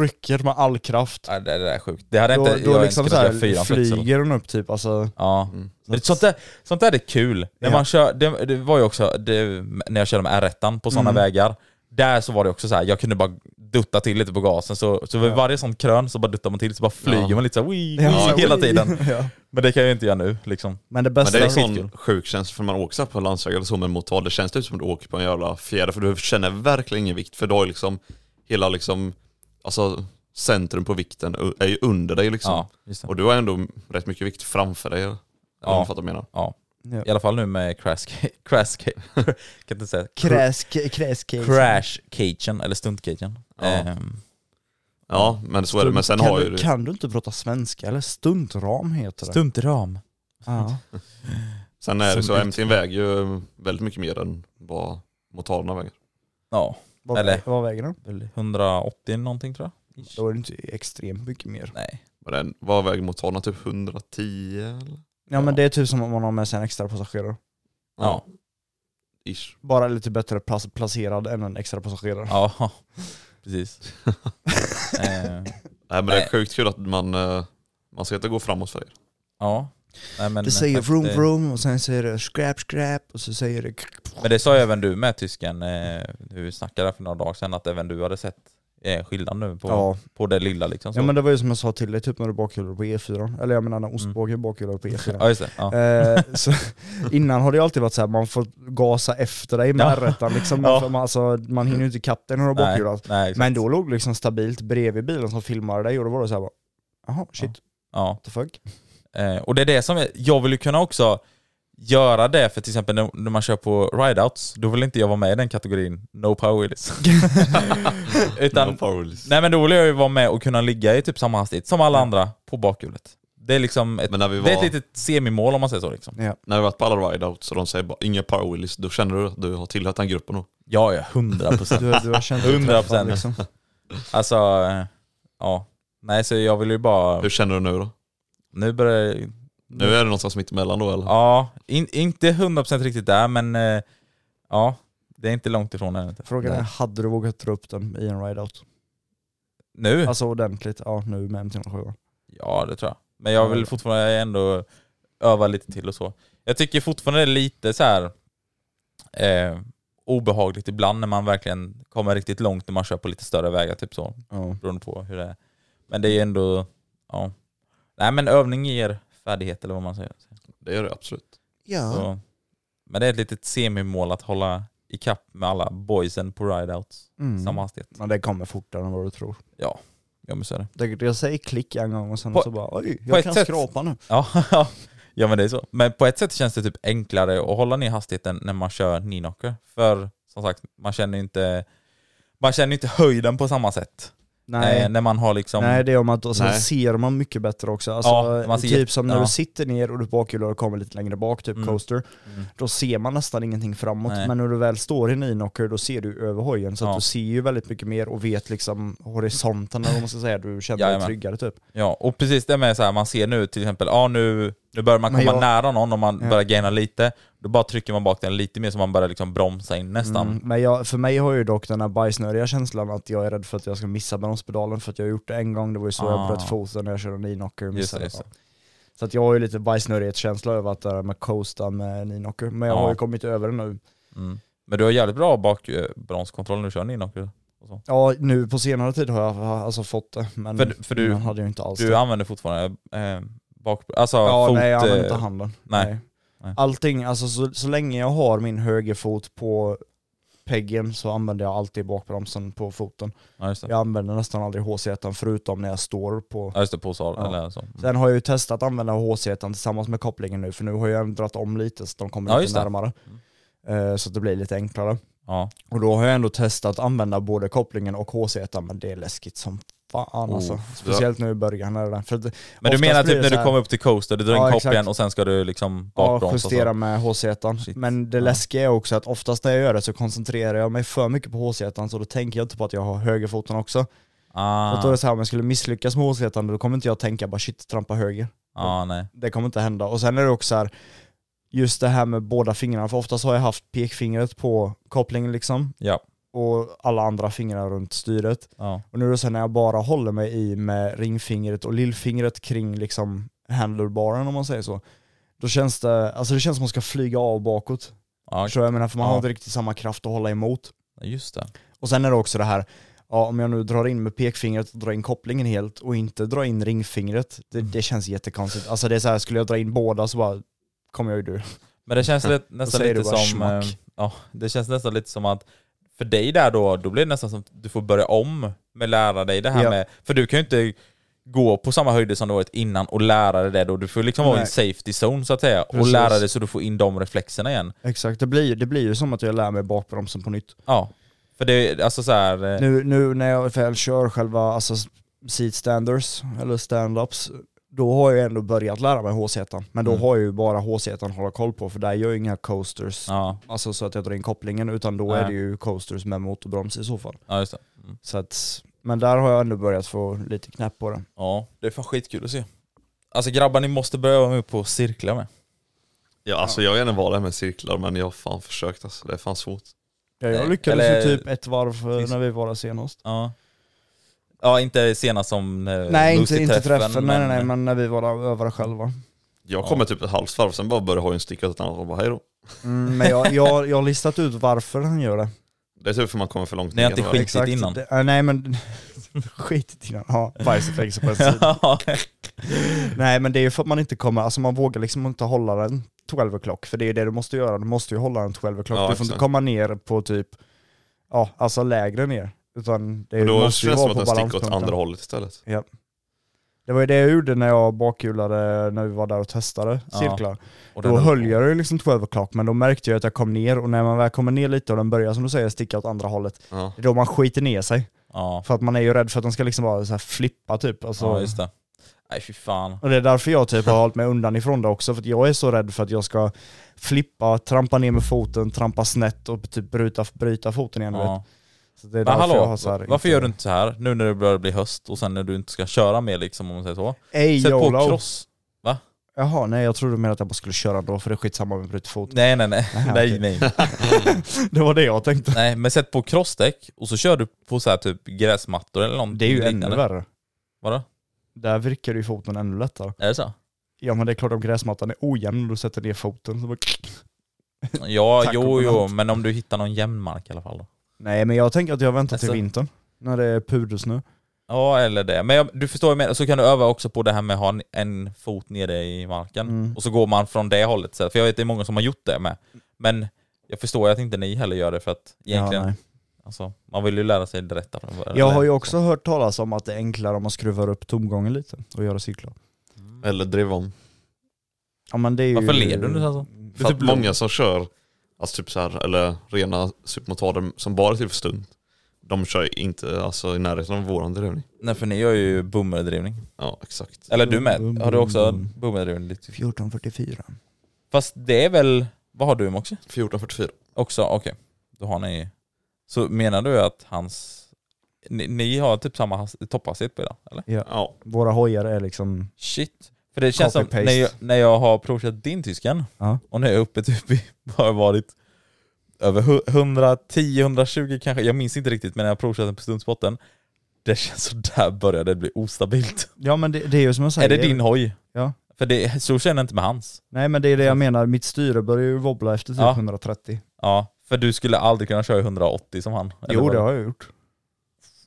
rycker med all kraft ja, det, det där är sjukt. Det hade då, inte då jag liksom ens så kunnat här, göra fyran för Excel. flyger den upp typ alltså Ja. Men sånt, där, sånt där är kul. När Ja. man kör, det, det var ju också det, när jag körde med R1 på sådana vägar. Där så var det också så här, jag kunde bara dutta till lite på gasen. Så, så vid varje sånt krön så bara duttar man till så bara flyger man lite så här, wii, wii, hela tiden. ja. Men det kan jag ju inte göra nu liksom. Men det Men bästa det är en skitkul. sån sjuk känsla för man åker så här på landsväg eller så med motor. Det känns typ som att du åker på en jävla fjäder för du känner verkligen ingen vikt för du har ju liksom hela liksom, alltså centrum på vikten u- är ju under dig liksom. Ja, just det. Och du har ändå rätt mycket vikt framför dig. eller Ja. om du fattar vad jag menar. Ja. Ja. I alla fall nu med crash, crash, kan inte säga. Kräsk, kräsk, crash cagen, eller stunt cagen. Ja. Ehm, Ja, men så är det. Men sen kan, har ju du, du... kan du inte prata svenska eller stuntram heter det? stuntram. Ja. Sen är det Som så, MT'n väger ju väldigt mycket mer än vad motorerna väger. Ja, Vad, Eller- vad väger den? väl 180 någonting tror jag. Ish. Då är det inte extremt mycket mer. Nej. Vad är den- Vad väger motorerna? Typ 110 eller? Ja, men det är typ som om man har med sig en extra passagerare. Ja. Ish. Bara lite bättre plas- placerad än en extra passagerare. Ja, precis. Ehm, Nej men det Nej. är sjukt kul att man, eh, man ska inte gå framåt för er. Ja. Nej, men, eh, Det säger faktiskt, vroom det- vroom och sen säger det scrap scrap och så säger det... Men det sa ju även du med tysken, eh, vi snackade för några dagar sedan, att även du hade sett eh, skillnad nu på, Ja. på det lilla liksom. Så. ja men det var ju som jag sa till dig, typ när du bakhjulade på E4. Eller jag menar när ostbågen bakhjulade på E4. Mm. ja just det. Ja. Eh, så, innan har det ju alltid varit så här, man får gasa efter dig med Ja. R1. Liksom, Ja. man, alltså, man hinner ju inte ikapp dig när du har Nej, bakhjulat. nej, exakt. alltså. Men då låg du liksom stabilt bredvid bilen som filmade dig och då var det så här bara, jaha shit, what ja. the fuck. Eh, och det är det som, är- jag vill ju kunna också göra det, för till exempel när, när man kör på rideouts, då vill inte jag vara med i den kategorin no power wheelies. Utan, No power wheels. nej men då vill jag ju vara med och kunna ligga i typ samma hastighet som alla andra på bakhjulet. Det är liksom ett, Men när vi det är ett var- litet semimål om man säger så liksom. Ja. När vi varit på alla rideouts och de säger bara inga power wheelies, då känner du att du har tillhört den gruppen då. Ja, ja, hundra procent. Du, du har känt dig 100%. träffad, liksom. Alltså, eh, ja. Nej, så jag vill ju bara... Hur känner du nu då? Nu börjar jag- Nu är det någonstans mitt emellan då eller? Ja, in, inte 100% riktigt där, men eh, ja. Det är inte långt ifrån ännu. Frågan är, Nej. hade du vågat dra upp den i en ride-out? Nu? Alltså ordentligt, ja nu med MT-07. Ja, det tror jag. Men jag vill fortfarande ändå öva lite till och så. Jag tycker fortfarande det är lite så här eh, obehagligt ibland när man verkligen kommer riktigt långt när man kör på lite större vägar, typ så. Ja. Beroende på hur det är. Men det är ändå, ja. Nej men övning ger färdighet eller vad man säger. Det är det absolut. ja. Så, men det är ett litet semimål att hålla ikapp med alla boysen på rideouts. Mm. Samma hastighet. Men det kommer fortare än vad du tror. Ja, ja men så är det. Det, jag säger klick en gång och sen På- så bara oj, på jag ett kan sätt- skrapa nu. Ja, ja men det är så. Men på ett sätt känns det typ enklare att hålla ner hastigheten när man kör knee-knocker. För som sagt, man känner ju inte, man känner ju inte höjden på samma sätt. Nej. Eh, när man har liksom... Nej det gör man inte, och sen Nej. ser man mycket bättre också. Alltså, Ja, man ser- typ som när ja. Mm. du sitter ner och du bakhjular och kommer lite längre bak, typ coaster, då ser man nästan ingenting framåt. Nej. Men när du väl står i en knocker då ser du över hojen, så Ja. att du ser ju väldigt mycket mer och vet liksom horisonten eller vad man ska säga, du känner dig Jajamän. tryggare typ. Ja, och precis det med så här, man ser nu till exempel, ja nu, nu börjar man Men komma jag- nära någon och man Ja. börjar gaina lite. Då bara trycker man bak den lite mer så man börjar liksom bromsa in nästan. Mm, men jag, för mig har ju dock den här bajsnödiga känslan att jag är rädd för att jag ska missa bromspedalen för att jag har gjort det en gång, det var ju så jag Ah. bröt foten när jag körde knee-knocker och Just det, missade. just det. Så att jag har ju lite bajsnödighetskänsla över att det här med coasta med knee-knocker, men jag Ja. har ju kommit över det nu. Mm. Men du har jävligt bra bakbromskontroll när du kör ninåker. Ja, nu på senare tid har jag ha- alltså fått det, men För- för du- innan hade jag inte alls Du det. använder fortfarande eh, bak... Alltså Ja, fot... nej jag använder eh, inte handen. nej. Nej. Allting, alltså så, så länge jag har min högerfot på peggen så använder jag alltid bakbromsen på foten. Ja just det. Jag använder nästan aldrig hc förutom när jag står på. Ja just det, påsar Ja. eller så. Sen har jag ju testat att använda hc tillsammans med kopplingen nu, för nu har jag ändrat om lite så de kommer Ja, just lite det. Mm. närmare. Eh, Så att det blir lite enklare. Ja. Och då har jag ändå testat att använda både kopplingen och hc men det är läskigt som fan alltså. Oh. Speciellt nu i början. När det där. För att Men du oftast menar blir det typ när så du här- kommer upp till coaster, du drar in Ja, koppen exakt. och sen ska du liksom Ja, bakbromsa och justera så. med hc Shit. Men det Ja. läskiga är också att oftast när jag gör det så koncentrerar jag mig för mycket på hc så då tänker jag inte på att jag har högerfoten också. Och då är Ah, det så här, om jag skulle misslyckas med hc då kommer inte jag tänka bara shit, trampa höger. ah, nej. Det kommer inte hända. Och sen är det också så här, just det här med båda fingrarna, för oftast har jag haft pekfingret på kopplingen liksom, Ja. och alla andra fingrar runt styret. Ja. Och nu är det så här, när jag bara håller mig i med ringfingret och lillfingret kring liksom handlerbaren om man säger så, då känns det, alltså det känns som att man ska flyga av bakåt. Ja, Förstår du vad jag menar? För man har Ja. inte riktigt samma kraft att hålla emot. just det. Och sen är det också det här, ja, om jag nu drar in med pekfingret och drar in kopplingen helt och inte drar in ringfingret, det, det känns jättekonstigt. Alltså det är så här, skulle jag dra in båda så bara kommer jag ju dö. Men det känns lite, nästan säger lite du bara som... eh, schmack. Ja, det känns nästan lite som att för dig där då, då blir det nästan som att du får börja om med att lära dig det här Ja. med... För du kan ju inte gå på samma höjder som du varit innan och lära dig det då. Du får liksom vara i en Nej. safety zone så att säga och Precis. lära dig så du får in de reflexerna igen. Exakt, det blir, det blir ju som att jag lär mig bakbromsen på nytt. Ja. För det är alltså så här... eh, Nu, nu när jag väl kör själva alltså, seat standers eller stand-ups, då har jag ändå börjat lära mig hc Men då Mm. har jag ju bara hc att hålla koll på, för där gör jag inga coasters, Ja, alltså så att jag drar in kopplingen, utan då Nej. är det ju coasters med motorbroms i så fall. ja just det. Mm. Så att, men där har jag ändå börjat få lite knäpp på det. Ja, det är fan skitkul att se. Alltså grabbar, ni måste börja vara med på att cirkla med. Ja, alltså jag är gärna vara där med cirklar men jag har fan försökt alltså. Det är fan svårt. Ja, jag jag lyckades lyckades ju ju typ typ ett varv Finns- när vi var där senast. Ja. Ja, inte senast som eh, Nej inte, inte Lucy-träffen, träffen, nej, nej, nej men när vi var där och övade själva. Jag kommer typ ett halvt varv, sen bara börjar hojen sticka åt ett annat håll bara hej då. Mm, men jag, jag, jag har listat ut varför han gör det. Det är typ för man kommer för långt Ni har inte va? skit- Skitigt innan. Det, äh, nej men, skitigt innan. Ja, bajsfängelse på en sida. Ja. nej men det är ju för att man inte kommer, alltså man vågar liksom inte hålla den 12 o'clock, för det är ju det du måste göra, du måste ju hålla den 12 Ja, o'clock. du får inte exakt. komma ner på typ, ja alltså lägre ner. Utan det är- Men då känns måste ju det som vara att den på sticker åt balanspunkten. andra hållet istället. Det var ju det jag gjorde när jag bakhjulade när vi var där och testade Ja. cirklar. Och den Då höll höll på. jag det liksom 12 o'clock men då märkte jag att jag kom ner och när man väl kommer ner lite och den börjar som du säger sticka åt andra hållet, Ja. det är då man skiter ner sig. Ja, För att man är ju rädd för att den ska liksom bara så här flippa typ. Alltså. ja just det. Nej fy fan. och det är därför jag typ har hållit mig undan ifrån det också, för att jag är så rädd för att jag ska flippa, trampa ner med foten, trampa snett och typ bryta, bryta foten igen. du Vet. Ja. Så det är Men därför hallå, jag har så här, varför gör du inte så här nu när det börjar bli höst och sen när du inte ska köra mer liksom om man säger så? Ey, Sätt på YOLO. cross. Jaha, nej jag trodde du menade att jag bara skulle köra då för det är skitsamma om jag bryter foten. Nej nej nej. Nej, nej, okej. nej. Det var det jag tänkte. nej men sätt på crossdäck och så kör du på så här typ gräsmattor eller någonting Det är ju liknande. ännu värre. Vadå? Där vrickar du ju foten ännu lättare. Är det så? Ja men det är klart om gräsmattan är ojämn och du sätter ner foten så bara... Ja, Tack jo och jo, godnatt. men om du hittar någon jämn mark i alla fall då. Nej men jag tänker att jag väntar till Alltså- vintern. När det är pudelsnö. Ja eller det, men jag, du förstår ju mer. Så kan du öva också på det här med att ha en, en fot nere i marken. Mm. Och så går man från det hållet. Så, här. för jag vet det är många som har gjort det med. Men jag förstår ju att inte ni heller gör det för att egentligen, Ja, nej. alltså, man vill ju lära sig det rätta från början. jag har eller ju så. också hört talas om att det är enklare om man skruvar upp tomgången lite och gör cirklar. Eller drev om. Ja men det är ju... Varför ler du nu alltså? För att många som kör, alltså typ så här, eller rena supermotorer som bara är till för stund, de kör inte alltså, i närheten av våran drivning. Nej för ni gör ju boomerdrivning. Ja, exakt. Eller du med, Bum, bum, har du också bum. boomerdrivning? lite? 1444. Fast det är väl, vad har du också? 1444. Också, okej. Då har ni Så menar du att hans, ni, ni har typ samma has- topphastighet på er, eller? Ja, Våra hojar är liksom... Shit. För det känns som Copy-paste. när jag, när jag har provkört din tysken Ja. och när jag är uppe typ i, har jag varit över hu- 110, 120 kanske, jag minns inte riktigt men när jag provkört den på stundspotten, det känns så där började det bli ostabilt. Ja men det, det är ju som jag säger. Är det din hoj? Ja. För det, så känner jag inte med hans. Nej men det är det jag menar, mitt styre börjar ju wobbla efter typ Ja. 130. Ja, för du skulle aldrig kunna köra i 180 som han. eller Jo vad det har jag gjort.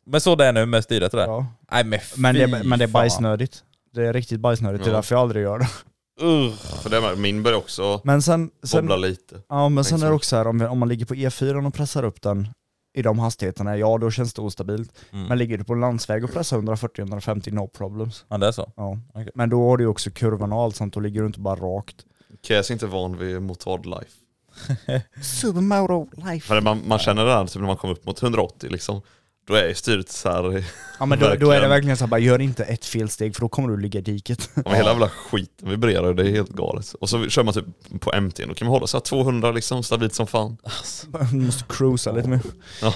Men så det är nu med styret och det? Ja. Nej men Men, fy det, men det är fan. bajsnödigt. Det är riktigt bajsnödigt, det är Ja. därför jag aldrig gör det. för det är med. min börjar också Men sen, sen bobbla lite. Ja men sen är det Exakt. också här, om, vi- om man ligger på E4 och pressar upp den i de hastigheterna, ja då känns det ostabilt. Mm. Men ligger du på landsväg och pressar 140-150, no problems. Ja det är så. Ja. Okej. Men då har du ju också kurvorna och allt sånt, då ligger du inte bara rakt. Käs är inte van vid motordlife. Supermoto life. För man, man känner det här typ, när man kommer upp mot 180 liksom. Då är ju styret så här, Ja men då, då är det Verkligen. verkligen såhär, bara gör inte ett felsteg för då kommer du ligga i diket. om hela jävla skiten vibrerar det är helt galet. Och så kör man typ på MT, då kan man hålla så här 200 liksom stabilt som fan. Du måste cruisa lite mer. Ja.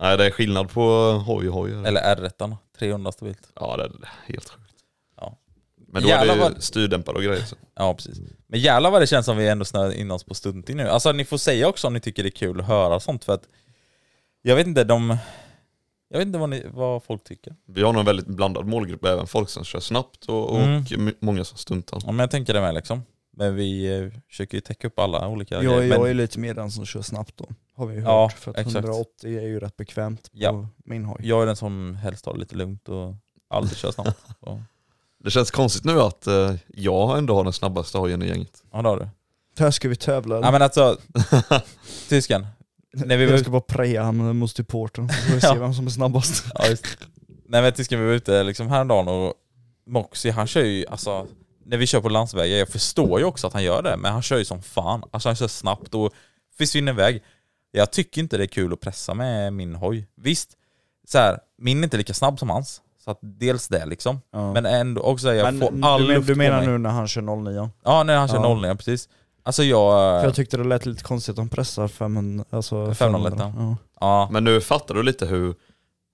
Nej det är skillnad på hoj och Mm. hoj. Eller R1, 300 stabilt. Ja det är helt sjukt. Ja. Men då Jävlar är det ju vad- styrdämpare och grejer. Så. Ja precis. Mm. Men jävlar vad det känns som vi ändå snöar in oss på stunting nu. Alltså ni får säga också om ni tycker det är kul att höra sånt för att jag vet inte, de... Jag vet inte vad, ni, vad folk tycker. Vi har nog en väldigt blandad målgrupp, även folk som kör snabbt och, och Mm. my- många som stuntar. Ja, men jag tänker det med liksom. Men vi eh, försöker ju täcka upp alla olika Jag, Men, jag är lite mer den som kör snabbt då. Har vi ju hört. Ja, för att exakt. 180 är ju rätt bekvämt på Ja. min hoj. jag är den som helst tar det lite lugnt och aldrig kör snabbt. Så, Det känns konstigt nu att eh, jag ändå har den snabbaste hojen i gänget. ja det har du. Här ska vi tävla eller? Ja men alltså, tysken. När vi var jag ute ska bara preja han mot supporten, så får vi Ja. se vem som är snabbast. Ja, just. det. Nej men tysken, vi var ute liksom häromdagen och Moxie han kör ju alltså när vi kör på landsvägar, jag förstår ju också att han gör det, men han kör ju som fan. Alltså han kör snabbt och försvinner iväg. Jag tycker inte det är kul att pressa med min hoj. Visst, så här, min är inte lika snabb som hans. Så att dels det liksom. Ja. Men ändå också, jag får Men all du, men- luft du menar på mig. nu när han kör 09? Ja, när han kör Ja. 0 ja precis. Alltså jag... För jag tyckte det lät lite konstigt att de pressar 500, alltså 501, Ja. ja, Men nu fattar du lite hur,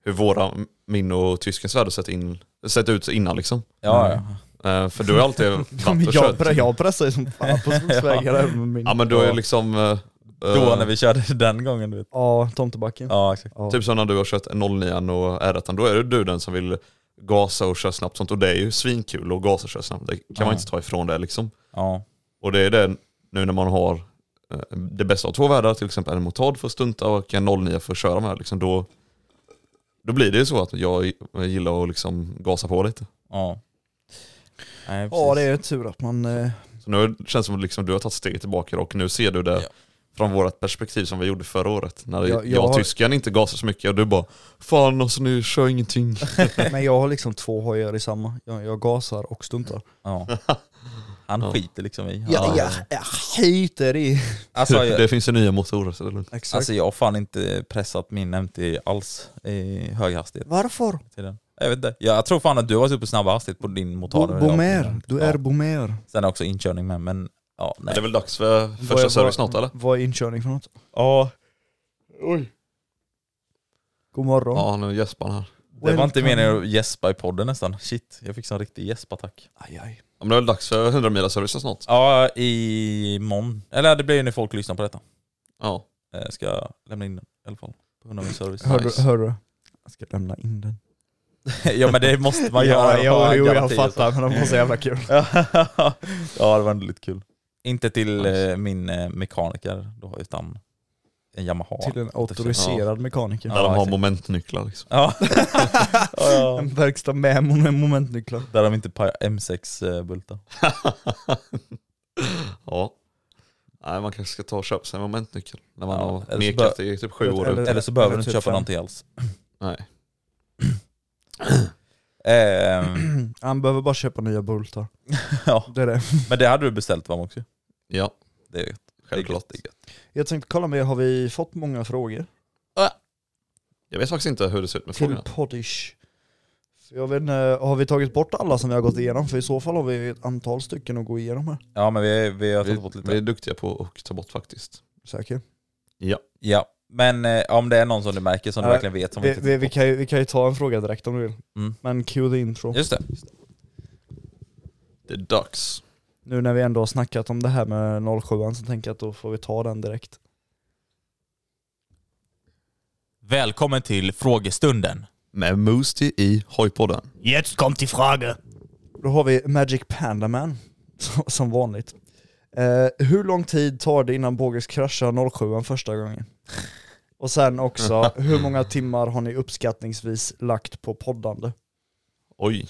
hur våra, min och tyskens värld har sett, in, sett ut innan liksom. ja, ja. Eh, för du har alltid Ja, men varit och jag, pre- kört. jag pressar ju som fan på skogsvägar även med min. Ja men du är ju liksom... eh, Då eh, när vi körde den gången du vet. Ja, tomtebacken. Ja exakt. Typ som när du har kört 09 och R1, då är det du den som vill gasa och köra snabbt sånt. Och det är ju svinkul att gasa och köra snabbt. Det kan man Ja. inte ta ifrån det liksom. Ja. Och det är det nu när man har eh, det bästa av två världar, till exempel en motard för att stunta och en 09 för att köra med. Liksom, då, då blir det ju så att jag gillar att liksom gasa på lite. Ja. Nej, Ja, precis. det är ju tur att man... eh, Så nu känns det som att liksom, du har tagit steget tillbaka och nu ser du det Ja. från vårt perspektiv som vi gjorde förra året. När Ja, jag, jag jag och har- tysken inte gasar så mycket och du bara Fan alltså nu kör ingenting. Men jag har liksom två hojar i samma. Jag, jag gasar och stuntar. Ja. Han skiter liksom i. Han- jag skiter i. Alltså, det jag, finns ju nya motorer så det är lugnt. Exakt. alltså jag har fan inte pressat min MT alls i hög hastighet. Varför? Till den. Jag vet inte. Jag tror fan att du har varit uppe i snabb hastighet på din motor. liksom. Bo- Bomer. Du är Ja. bomer. Sen också inkörning med, men ja, nej. Det är väl dags för Vad är- första service snart eller? Vad är inkörning för något? Ja, God morgon. Ja nu gäspar han här. det var inte meningen att gäspa i podden nästan. Shit, jag fick sån riktig gäspattack. Alltså- Aj, aj. Ja, men det är väl dags för 100 mila servicen snart. Ja, i morgon. Eller det blir ju när folk lyssnar på detta. Ja. Eh, Ska jag lämna in den i alla fall. På grund av min service. Hör, du, Nice. hör du? Jag ska lämna in den. ja men det måste man göra. ja, jo, jag Garanti och så. fattar men det var så jävla kul. ja det var väldigt kul. Inte till Nice. eh, min eh, mekaniker då, utan en Yamaha. Till en auktoriserad mekaniker. Där Ja, de har exakt. momentnycklar liksom. Ja. ja, ja. En verkstad med mon- momentnycklar. Där de inte pajar M6-bultar. ja. Nej man kanske ska ta och köpa sig en momentnyckel. När man Ja, eller har så nekat bör- i typ sju år. Eller- Eller... Eller så behöver eller du inte typ köpa fem. någonting alls. Nej. Ehm, Han behöver bara köpa nya bultar. ja. Det är det. Men det hade du beställt va också? Ja, Det är gött. självklart. Det är gött. Jag tänkte kolla med, har vi fått många frågor? Jag vet faktiskt inte hur det ser ut med Till frågorna. Poddish. För Jag vet inte, har vi tagit bort alla som vi har gått igenom? För i så fall har vi ett antal stycken att gå igenom här. Ja men vi, vi har tagit Vi, bort lite. vi är duktiga på att ta bort faktiskt. Säker? Ja. Men eh, om det är någon som du märker som du Ja, verkligen vet som Vi, inte vi, vi, kan ju, vi kan ju ta en fråga direkt om du vill. Mm. Men cue the intro. Just det. Det är dags. Nu när vi ändå har snackat om det här med 07 så tänker jag att då får vi ta den direkt. Välkommen till frågestunden. Med Moosty i hojpodden. Då har vi Magic Panda Man, som vanligt. Eh, hur lång tid tar det innan Bogus kraschar 07 första gången? Och sen också, hur många timmar har ni uppskattningsvis lagt på poddande? Oj.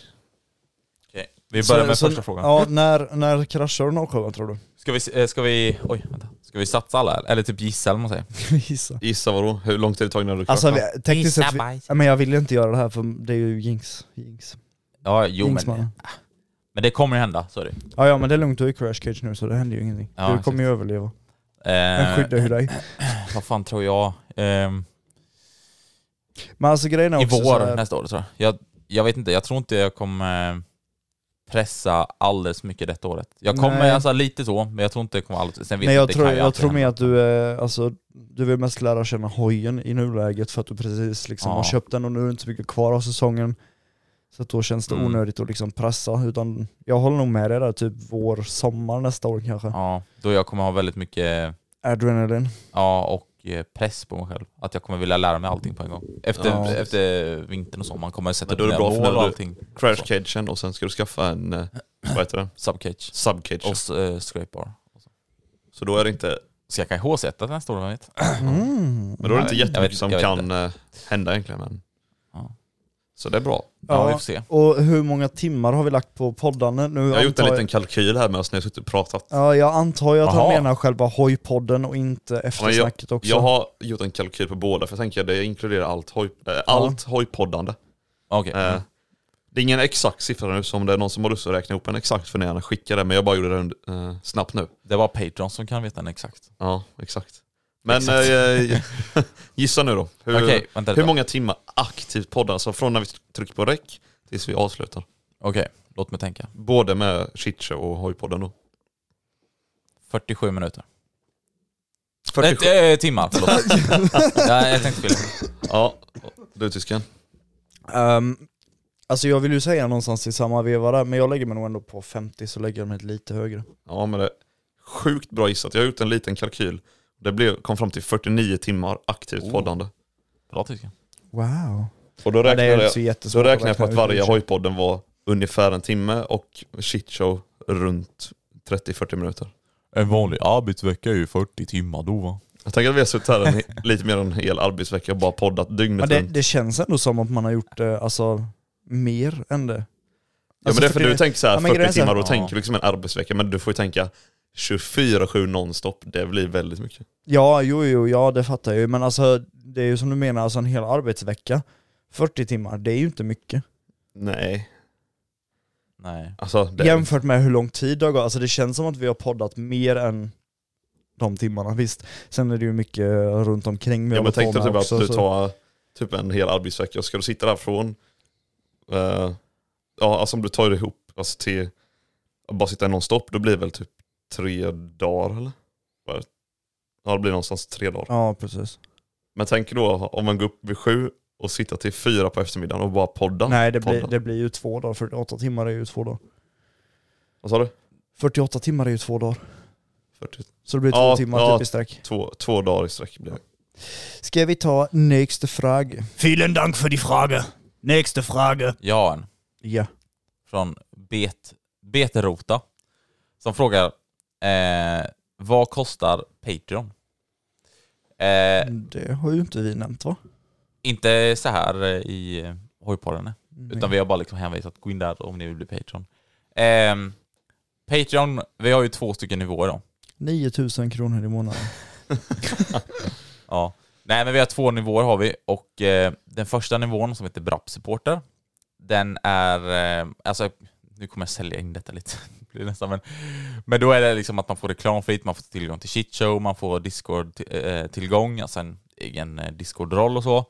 Vi börjar Så- med så- första frågan. Ja, när, när kraschar 07 tror du? Ska vi, eh, ska vi, oj, vänta. Ska vi satsa alla? Eller typ gissa eller vad man säger? Gissa. Gissa vadå? Hur lång tid det tog innan du Alltså kraschade? vi- tekniskt sett, vi, bajs. Ja, men jag vill ju inte göra det här för det är ju jinx. jinx. Ja, jo men, Jinxmannen. men det kommer ju hända, så är det. Ja, ja men det är lugnt, du är i crash cage nu så det händer ju ingenting. Ja, du kommer ju överleva. Eh, Den skyddar ju dig. Vad fan tror jag? Ehm, Men alltså grejen är I också så vår här- nästa år tror jag. jag. Jag vet inte, jag tror inte jag kommer pressa alldeles mycket detta året. Jag kommer Nej. alltså lite så, men jag tror inte jag kommer alldeles... Sen vet Nej jag inte, det tror, kan ju jag alltid tror hända. mer att du är, alltså, du vill mest lära känna hojen i nuläget för att du precis liksom Ja. har köpt den och nu är det inte så mycket kvar av säsongen. Så att då känns det Mm. onödigt att liksom pressa, utan jag håller nog med dig där, typ vår, sommar nästa år kanske. Ja, då jag kommer ha väldigt mycket Adrenalin. ja, och eh, press på mig själv. Att jag kommer vilja lära mig allting på en gång. Efter, Ja. efter vintern och sommaren kommer jag sätta Men då är upp det mina bra för mål när och du- allting. Crash cagen och sen ska du skaffa en, eh, vad heter den? Subcage. Subcage. Och uh, scrapebar. Så då är det inte, Så jag kan H-sätta nästa år, vem vet? men då är det Nej, inte jag vet jättemycket inte, som jag vet kan eh, hända egentligen. Men. Ja. Så det är bra. Ja, vi får se. Och hur många timmar har vi lagt på poddande? Nu Jag har gjort en antar liten kalkyl här med oss när jag suttit och pratat. Ja, jag antar ju att han Jaha. menar själva hojpodden och inte eftersnacket också. Jag har gjort en kalkyl på båda för jag tänker att det inkluderar allt, hoj, eh, allt hojpoddande. Ah, Okej. Eh, Det är ingen exakt siffra nu, så om det är någon som har lust att räkna ihop en exakt för ni skicka det, men jag bara gjorde det under, eh, snabbt nu. Det var Patreon som kan veta den exakt. Ja, exakt. Men Exakt. Eh, gissa nu då. Hur, Okej, vänta lite. hur många timmar aktivt poddar, alltså från när vi trycker på rec tills vi avslutar. Okej, låt mig tänka. Både med Chitcha och hojpodden då. 47 minuter. 47. Äh, äh, timmar, förlåt. ja, jag tänkte fel. Ja, du tysken. Ehm, alltså jag vill ju säga någonstans i samma veva där, men jag lägger mig nog ändå på 50 så lägger jag mig lite högre. Ja men det är sjukt bra gissat. Jag har gjort en liten kalkyl. Det blev, kom fram till 49 timmar aktivt poddande. Bra tyska. Wow. Oh. Och då Ja, det räknade, är inte så jag, jättesvårt då att räknade jag på räkna att ut varje kanske. hojpodden var ungefär en timme och shitshow runt 30-40 minuter. En vanlig arbetsvecka är ju 40 timmar då va? Jag tänker att vi har suttit här en, he- lite mer än en hel arbetsvecka och bara poddat Men dygnet det, runt. det känns ändå som att man har gjort eh, alltså, mer än det. Ja men det är för du tänker såhär alltså, 40 ja, men grejen är så här- timmar och ja. tänker liksom en arbetsvecka men du får ju tänka 24-7 nonstop, det blir väldigt mycket. Ja, jo, jo, ja det fattar jag ju. Men alltså, det är ju som du menar, alltså en hel arbetsvecka, 40 timmar, det är ju inte mycket. Nej, Nej. alltså det, Jämfört med hur lång tid det har gått, alltså det känns som att vi har poddat mer än de timmarna. Visst, sen är det ju mycket eh, runt omkring vi ja, håller men på tänk dig med typ att också, du så- tar typ en hel arbetsvecka och ska du sitta där från, eh, ja alltså om du tar det ihop alltså till, att bara sitta nonstop, då blir det väl typ tre dagar eller? Vad är det? Ja det blir någonstans tre dagar. Ja, precis. Men tänk då om man går upp vid sju och sitter till fyra på eftermiddagen och bara podda. Nej, det podda. blir, det blir ju två dagar. 48 timmar är ju två dagar. Vad sa du? 48 timmar är ju två dagar. 40, Så det blir två Ja, timmar ja. typ i sträck. två, två dagar i sträck blir det. Ska vi ta nästa fråga? Vielen Dank för din fråga. Nästa fråga. Jag har en Ja. från Bet, Beterota som frågar eh, vad kostar Patreon? Eh, Mm. Det har ju inte vi nämnt va? inte så här eh, i eh, hojpodden nej. Utan vi har bara liksom hänvisat, gå in där om ni vill bli Patreon. Ehm, Patreon, vi har ju två stycken nivåer då. 9000 kronor i månaden. Ja. Nej men vi har två nivåer har vi och eh, den första nivån som heter Brapp Supporter, den är, eh, alltså nu kommer jag sälja in detta lite, Det blir nästan men, men då är det liksom att man får reklamfritt, man får tillgång till shitshow, man får Discord-tillgång, alltså en egen eh, Discord-roll och så.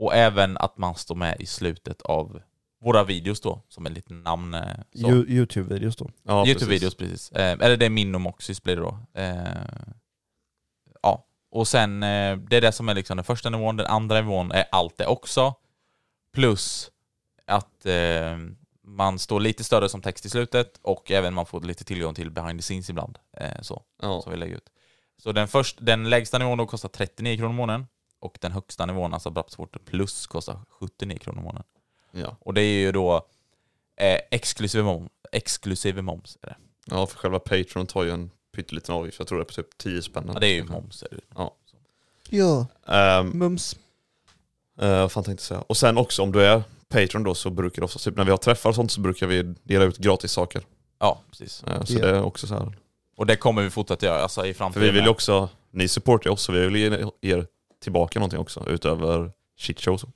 Och även att man står med i slutet av våra videos då, som en liten namn. eh, Så. Ju- Youtube-videos då. Ja, Youtube-videos precis. Eh, eller det är min och Moxys blir det då. Eh, ja, och sen eh, det är det som är liksom den första nivån. Den andra nivån är allt det också. Plus att eh, man står lite större som text i slutet och även man får lite tillgång till behind the scenes ibland. Eh, så, Ja. som vi lägger ut. Så den, först, den lägsta nivån då kostar 39 kronor i månaden och den högsta nivån, alltså Brappsporten plus, kostar 79 kronor i månaden. Ja. Och det är ju då eh, exklusive, mom, exklusive moms. Är det. ja, för själva Patreon tar ju en pytteliten avgift. Jag tror det är på typ 10 spänn. Ja, det är ju moms. Är det. Ja. Ja, Ehm, mums. eh, vad fan tänkte jag säga? Och sen också om du är Patreon då så brukar det ofta, typ när vi har träffar och sånt så brukar vi dela ut gratis saker. ja, precis. Eh, så Ja. det är också så här. Och det kommer vi fortsätta göra alltså, i För framtiden. vi vill ju med. också, ni supportar oss så vi vill ge er tillbaka någonting också utöver shitshow och så.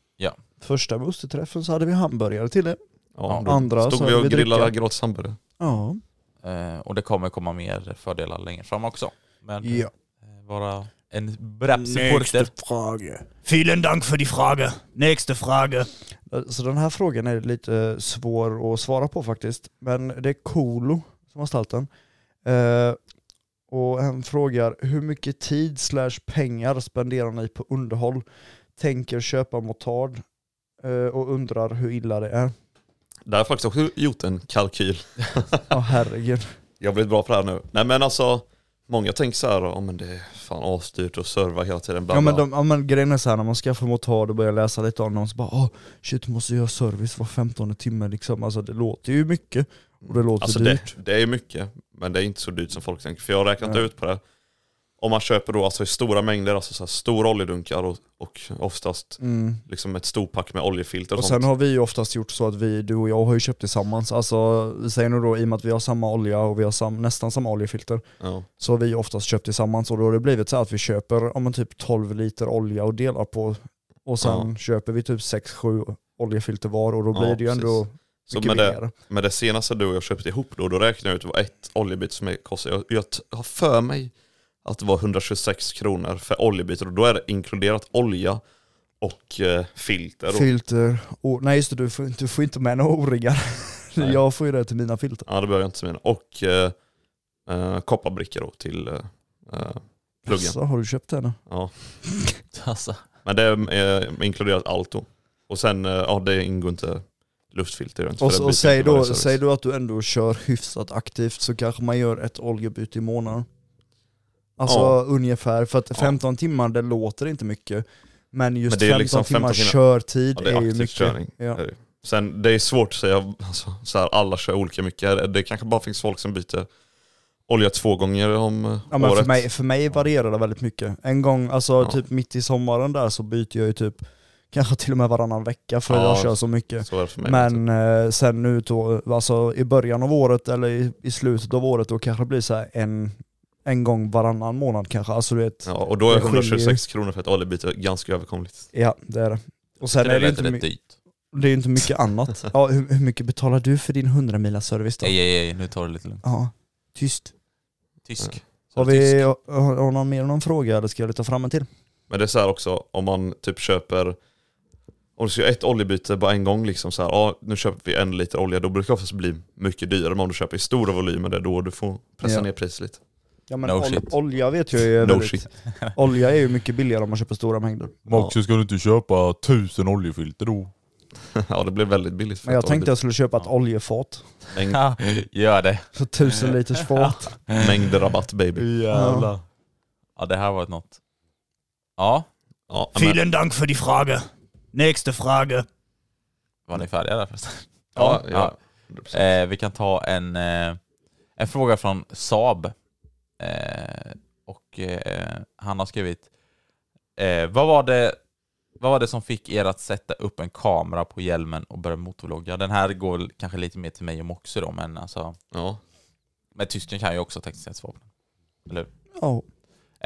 Första boosteträffen så hade vi hamburgare till det. Ja, Ja. då Andra så stod vi hade och vi grillade dricka. gratis hamburgare. Ja. Eh, och det kommer komma mer fördelar längre fram också. Men ja. eh, vara en Brapp-supporter. fråga. Vielen Dank för die Frage. Nästa fråga. Eh, Så den här frågan är lite eh, svår att svara på faktiskt. Men det är Kolo som har ställt den. Eh, och han frågar hur mycket tid slash pengar spenderar ni på underhåll? Tänker köpa motard eh, och undrar hur illa det är. Där har jag faktiskt också gjort en kalkyl. Ja herregud. Jag har blivit bra på det här nu. Nej men alltså, många tänker så här, ja men det är fan avstyrt att serva hela tiden. Bla, Ja men, bla. de, ja, men grejen är så här, när man skaffar motard och börjar läsa lite om dem så bara åh shit måste göra service var 15 timme liksom. Alltså det låter ju mycket och det låter Alltså dyrt. det, det är mycket, men det är inte så dyrt som folk tänker. För jag har räknat Nej. ut på det. Om man köper då alltså i stora mängder, alltså så här stora oljedunkar och, och oftast Mm. liksom ett storpack med oljefilter och, Och sånt. sen har vi ju oftast gjort så att vi, du och jag har ju köpt tillsammans. Alltså säg nu då i och med att vi har samma olja och vi har sam, nästan samma oljefilter Ja. så har vi ju oftast köpt tillsammans och då har det blivit så här att vi köper om en typ 12 liter olja och delar på och sen Ja. köper vi typ 6-7 oljefilter var och då Ja, blir det ju ändå Så mycket med det, mer. Men det senaste du och jag köpte ihop då, då räknade jag ut vad ett oljebyte som är- kostar. Jag, jag t- har för mig att det var 126 kronor för oljebyte och då är det inkluderat olja och eh, filter. Och, Filter, och, nej just det, du får, du får inte med några O-ringar. Nej. jag får ju det till mina filter. ja, det behöver jag inte mina. Och eh, eh, kopparbrickor då till eh, eh, pluggen. Så har du köpt det nu? Ja. Alltså. Men det eh, inkluderar allt då. Och sen, eh, ja det ingår inte luftfilter. inte, för Och, det så- byter och säg, inte varje då, service. säg då att du ändå kör hyfsat aktivt så kanske man gör ett oljebyte i månaden. Alltså Ja. ungefär, för att Ja. 15 timmar det låter inte mycket. Men just Men det är 15, liksom timmar 15 timmar- körtid Ja, det är, är ju aktiv mycket. körning. Ja. Är det. Sen det är svårt att säga, alltså, så här, alla kör olika mycket. Det- Det kanske bara finns folk som byter olja två gånger om eh, Ja, men året. för, mig, för mig varierar det väldigt mycket. En gång, alltså Ja. typ mitt i sommaren där så byter jag ju typ kanske till och med varannan vecka för Ja, jag kör så mycket. Så är det för mig. liksom. Men eh, sen nu då, alltså i början av året eller i, i slutet av året då kanske det blir så här en, en gång varannan månad kanske. Alltså du vet, Ja, och då är det skiljer ju. 126 kronor för ett oljebyte ganska överkomligt. Ja, det är det. Och sen det är det, ju lät inte, rätt my- dyrt. det är ju inte mycket annat. Ja, hur, hur mycket betalar du för din 100 milars service då? Ej, ej, ej, nu tar det lite lugnt. Ja, tyst. Tysk. Så Har tysk. vi har, har någon mer någon fråga eller ska jag ta fram en till? Men det är så här också, om man typ köper om du ska göra ett oljebyte bara en gång, liksom så här, ja, nu köper vi en liter olja, då brukar det oftast bli mycket dyrare. Men om du köper i stora volymer, det är då du får pressa Ja. ner priset lite. Ja men No ol- shit. olja vet jag ju är No väldigt- shit. Olja är ju mycket billigare om man köper stora mängder. Max, ska du inte köpa tusen oljefilter då? ja, det blir väldigt billigt. För Men jag ett tänkte oljebyte. jag skulle köpa ett oljefat. Mängd, Ja, gör det. Så tusen liters fat. mängd rabatt baby. Mm. Jävlar. Ja, det här var något. Ja, Ja, men, dank för din fråga. Nästa fråga. var ni färdiga där förresten? ja, ja. Eh, vi kan ta en, eh, en fråga från Saab. Eh, och eh, han har skrivit, eh, vad, var det, vad var det som fick er att sätta upp en kamera på hjälmen och börja motorvlogga? Den här går väl kanske lite mer till mig och Moxie då, men alltså, Ja. men tysken kan ju också tekniskt sett svara på den. Ja.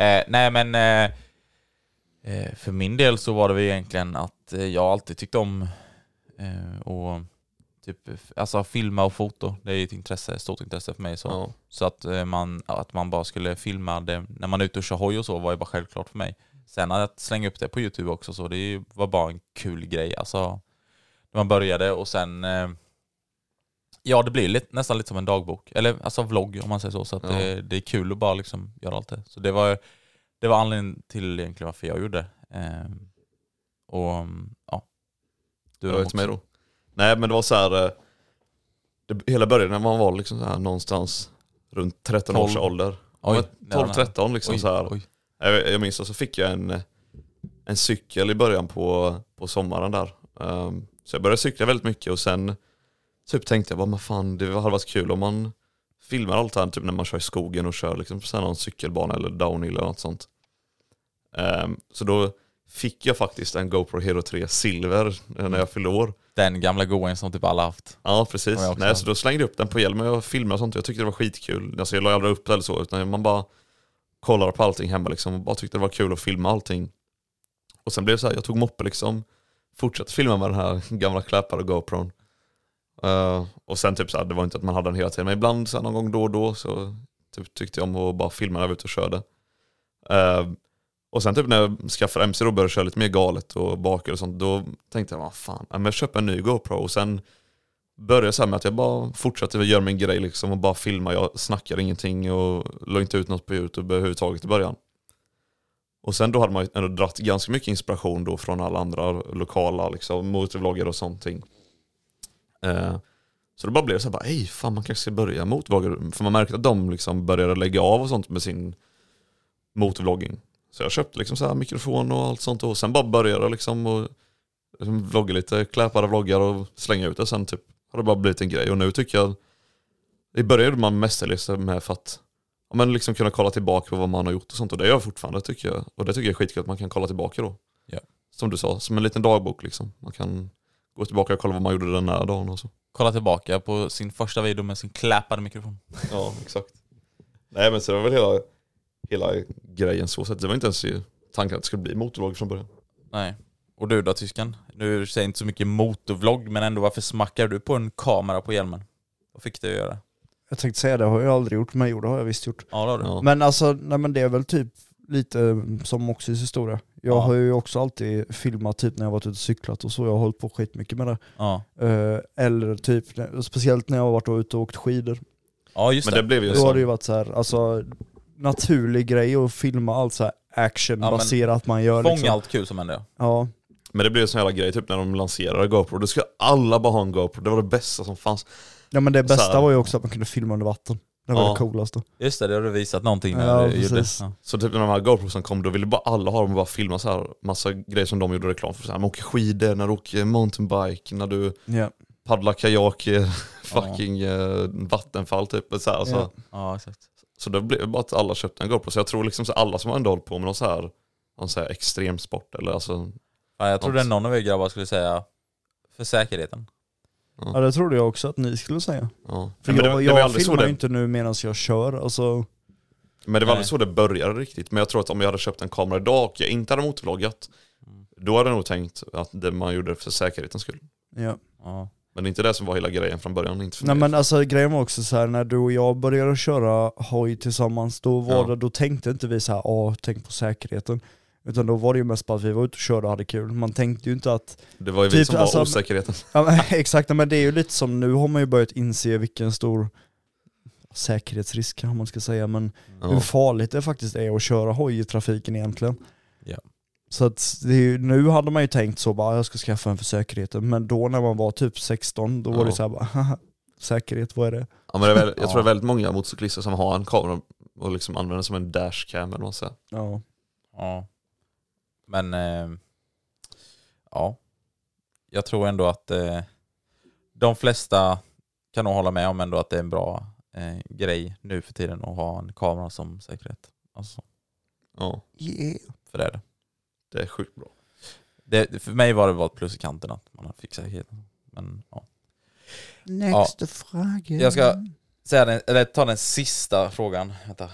Eh, nej men eh, eh, för min del så var det väl egentligen att eh, jag alltid tyckte om eh, och typ, f- alltså filma och foto. Det är ju ett intresse, stort intresse för mig. Så, Ja. så att, eh, man, att man bara skulle filma det när man är ute och kör hoj och så var ju bara självklart för mig. Sen att slänga upp det på Youtube också så det är ju- var bara en kul grej. Alltså, när man började och sen eh, Ja, det blir lite, nästan lite som en dagbok. Eller alltså vlogg om man säger så. Så att eh, Ja. det, det är kul att bara liksom göra allt det. Så det var, det var anledningen till egentligen varför jag gjorde det. Eh, och ja. Du Du då, har mig Moxie? då? Nej men det var så här. eh, Det, hela början när man var liksom så här någonstans runt 13 års Tolv. ålder. Oj, Men 12-13 liksom oj, så här. oj. Jag, jag minns att så fick jag en, en cykel i början på, på sommaren där. Ehm, så jag började cykla väldigt mycket och sen typ tänkte jag bara, men fan det hade varit kul om man filmar allt det här typ när man kör i skogen och kör liksom på sån här någon cykelbana eller downhill eller något sånt. Ehm, så då fick jag faktiskt en GoPro Hero 3 silver eh, när jag fyllde år. Den gamla goen som typ alla haft. Ja precis. Har jag också Nej, haft. så då slängde jag upp den på hjälmen och filmade och sånt. Jag tyckte det var skitkul. Alltså, jag la aldrig upp det eller så, utan man bara kollade på allting hemma liksom och bara tyckte det var kul att filma allting. Och sen blev det så här, jag tog moppe liksom, fortsatte filma med den här gamla kläpar och GoPron. Eh, och sen typ så här, det var inte att man hade den hela tiden, men ibland så här, någon gång då och då så typ, tyckte jag om att bara filma när jag var ute och körde. Eh, Och sen typ när jag skaffade MC då och började köra lite mer galet och bakel och sånt, då tänkte jag vad fan, ja, men jag köper en ny GoPro och sen började jag så här med att jag bara fortsatte göra min grej liksom och bara filma. Jag snackade ingenting och la inte ut något på YouTube överhuvudtaget i början. Och sen då hade man ju ändå dratt ganska mycket inspiration då från alla andra lokala liksom, motorvloggare och sånt. ting. Eh, så det bara blev så här, bara, ej fan man kanske ska börja motorvlogga. För man märkte att de liksom började lägga av och sånt med sin motorvlogging. Så jag köpte liksom så här mikrofon och allt sånt och sen bara började jag liksom och liksom vlogga lite, kläpade vloggar och slänga ut det sen typ. Har det bara blivit en grej och nu tycker jag, i början gjorde man mestadels med för att ja, men liksom kunna kolla tillbaka på vad man har gjort och sånt och det gör jag fortfarande tycker jag. Och det tycker jag är skitkul att man kan kolla tillbaka då. Ja. Som du sa, som en liten dagbok liksom. Man kan gå tillbaka och kolla vad man gjorde den här dagen och så. Kolla tillbaka på sin första video med sin kläpade mikrofon. Ja, exakt. Nej men så det var väl hela, hela grejen så sett. Det var inte ens i tanken att det skulle bli motorvlogg från början. Nej. Och du då tysken? Nu säger jag inte så mycket motorvlogg men ändå varför smackar du på en kamera på hjälmen? Vad fick du göra? Jag tänkte säga det har jag aldrig gjort, men jo det har jag visst gjort. Ja det har du. Ja. Men alltså, nej men det är väl typ lite som Moxys historia. Jag Ja. har ju också alltid filmat typ när jag varit ute och cyklat och så, jag har hållit på skitmycket med det. Ja, Eh, eller typ, när- speciellt när jag har varit ute och åkt skidor. ja just Men det det. blev ju Då har så. det ju varit så här, alltså naturlig grej att filma allt så här actionbaserat man gör Fånga liksom. allt kul som hände. Ja, Men det blev ju sån jävla grej typ när de lanserade GoPro. Då skulle alla bara ha en GoPro. Det var det bästa som fanns. ja men det Så här. bästa var ju också att man kunde filma under vatten. Det var Ja. det coolaste. Just det, det har du visat någonting när Ja, du gjorde. precis. Ja. Så typ när de här GoProsen kom då ville bara alla ha dem och bara filma så här massa grejer som de gjorde reklam för. Så här, man åker skidor, när du åker mountainbike, när du Ja. paddlar kajak, i fucking eh, vattenfall typ. Så, här, så, Ja. ja exakt. så det blev bara att alla köpte en GoPro. Så jag tror liksom så alla som har ändå hållit på med någon så här, någon så här extremsport eller alltså, Ja, jag trodde någon av er grabbar skulle säga för säkerheten. ja, det trodde jag också att ni skulle säga. ja. För Nej, men jag, det, det var jag aldrig så filmar ju det inte nu medan jag kör, alltså. Men det var Nej. aldrig så det började riktigt. Men jag tror att om jag hade köpt en kamera idag och jag inte hade motorvloggat, Mm. då hade jag nog tänkt att det man gjorde för säkerhetens skull. Ja. Ja. Men det är inte det som var hela grejen från början. Inte för Nej mig. men alltså grejen var också så här när du och jag började köra hoj tillsammans, då, var Ja. det, då tänkte inte vi så här, ah, tänk på säkerheten. Utan då var det ju mest bara att vi var ute och körde och hade kul. Man tänkte ju inte att, det var ju vi typ, som alltså- var osäkerheten. ja, men, exakt men det är ju lite som nu har man ju börjat inse vilken stor säkerhetsrisk kanske man ska säga, men hur Ja. farligt det faktiskt är att köra hoj i trafiken egentligen. Ja. Så att det är ju, nu hade man ju tänkt så bara, jag ska skaffa en för säkerheten, men då när man var typ 16, då var det Ja. så här bara, "Haha, säkerhet, vad är det? Ja, men det är väl, jag tror det är väldigt många motorcyklister som har en kamera och liksom använder den som en dashcam eller vad man säger. Ja. Ja. Men, eh, ja. Jag tror ändå att eh, de flesta kan nog hålla med om ändå att det är en bra eh, grej nu för tiden att ha en kamera som säkerhet. Alltså, Ja, Yeah. för det är det. det är sjukt bra. det. För mig var det bara ett plus i kanten att man fick säkerheten. Men, ja. Nästa fråga. Jag ska- Säga den, eller ta den sista frågan. Vänta.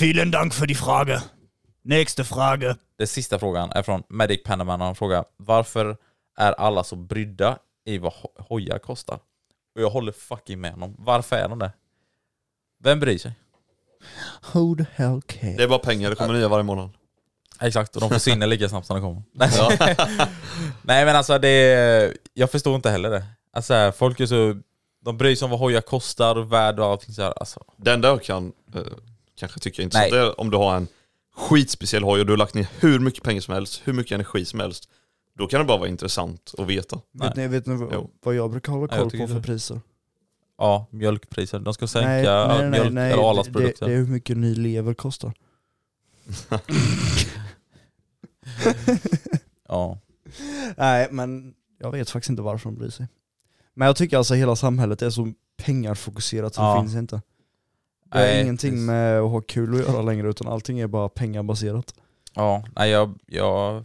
Vielen Dank für die Frage. Nächste Frage. Den sista frågan är från Medic Panaman och han frågar Varför är alla så brydda i vad ho- hojar kostar? Och jag håller fucking med honom. Varför är de det? Vem bryr sig? Who the hell cares? Det är bara pengar, det kommer nya varje månad. Exakt, och de försvinner lika snabbt som de kommer. Nej, Nej men alltså det är, Jag förstår inte heller det. Alltså här, folk är så... De bryr sig om vad hojar kostar och värde och allting sådär. Alltså, Det enda jag kan eh, kanske tycka är Nej. intressant är om du har en skitspeciell hoj och du har lagt ner hur mycket pengar som helst, hur mycket energi som helst. Då kan det bara vara intressant att veta. Vet ni, vet ni vad- Jo. vad jag brukar hålla Nej, jag koll tycker på för inte det. priser? ja, mjölkpriser. De ska sänka mjölk eller det, det, Arlandsprodukter. det är hur mycket ny lever kostar. Ja. Nej men jag vet faktiskt inte varför de bryr sig. Men jag tycker alltså hela samhället är så pengarfokuserat som Ja. finns inte. Det är Nej, ingenting precis. med att ha kul att göra längre utan allting är bara pengabaserat. Ja, nej jag... jag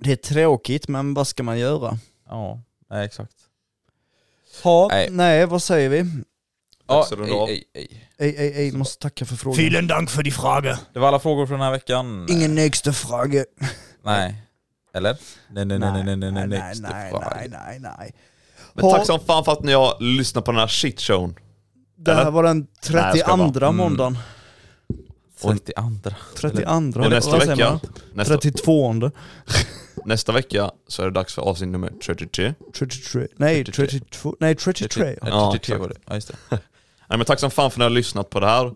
Det är tråkigt men vad ska man göra? ja, nej exakt. Ha, nej. Nej. vad säger vi? Ja, Så runda ej, av. ej, ej. Ej, ej, ej, måste tacka för frågan. Vielen Dank für die Frage. Det var alla frågor från den här veckan. Ingen nästa fråga. Nej. Eller? Nej, nej, nej, nej, nej, nej, nej, nästa nej, fråga. nej, nej, nej. Men Ha- tack som fan för att ni har lyssnat på den här shitshowen. Det här Eller? var den Nej, jag skojar 32 bara. måndagen. 32. 32. Och nästa vad säger vecka, man? nästa, 32. nästa vecka så är det dags för avsnitt nummer 33. 33. Nej, 33. 32. Nej, 33. Ja, Ja, 33 exakt. var det. Ja, just det. Nej, men tack som fan för att ni har lyssnat på det här.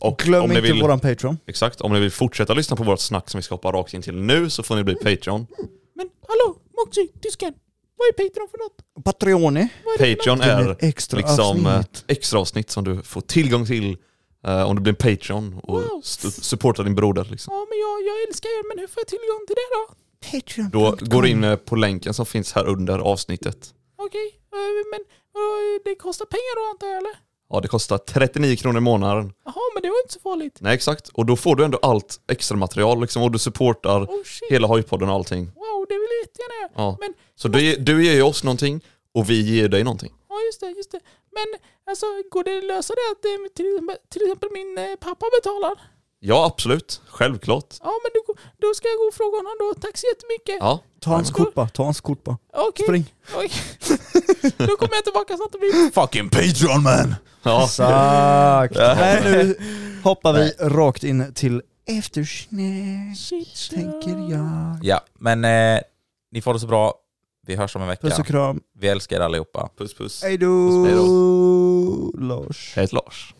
Och Glöm om ni inte vill, våran Patreon. Exakt, om ni vill fortsätta lyssna på vårt snack som vi ska hoppa rakt in till nu så får ni bli Patreon. Men hallå, Moxie, tysken. Vad är Patreon för något? Patreoni. Patreon Det blir är extra liksom eh, avsnitt. extra avsnitt som du får tillgång till eh, om du blir en Patreon och Wow. stu- supportar din broder. Liksom. Ja, men jag, jag älskar er, men hur får jag tillgång till det då? Patreon. Då går du in eh, på länken som finns här under avsnittet. Okej, eh, men eh, det kostar pengar då antar jag eller? Ja, det kostar 39 kronor i månaden. Jaha, men det var inte så farligt. Nej, exakt. Och då får du ändå allt extra material liksom, och du supportar Oh shit, hela Hojpodden och allting. wow, det vill jag jättegärna göra. Ja. Men, Så du, ge- du ger ju oss någonting och vi ger dig någonting. ja just det, just det. Men alltså, går det att lösa det att eh, till, exempel- till exempel min eh, pappa betalar? Ja, absolut. Självklart. Ja, men då, då ska jag gå och fråga honom då. Tack så jättemycket. Ja. Ta hans kort bara, ta hans kort bara. Okej. Spring. Oj. Då kommer jag tillbaka snart och blir... Fucking Patreon man! ja. Exakt. Nej, nu hoppar vi rakt in till eftersnack, Shit, shit. tänker jag. Ja, men eh, ni får det så bra. Vi hörs om en vecka. Puss och kram. Vi älskar er allihopa. Puss puss. Hej då! Lars. Hej Lars.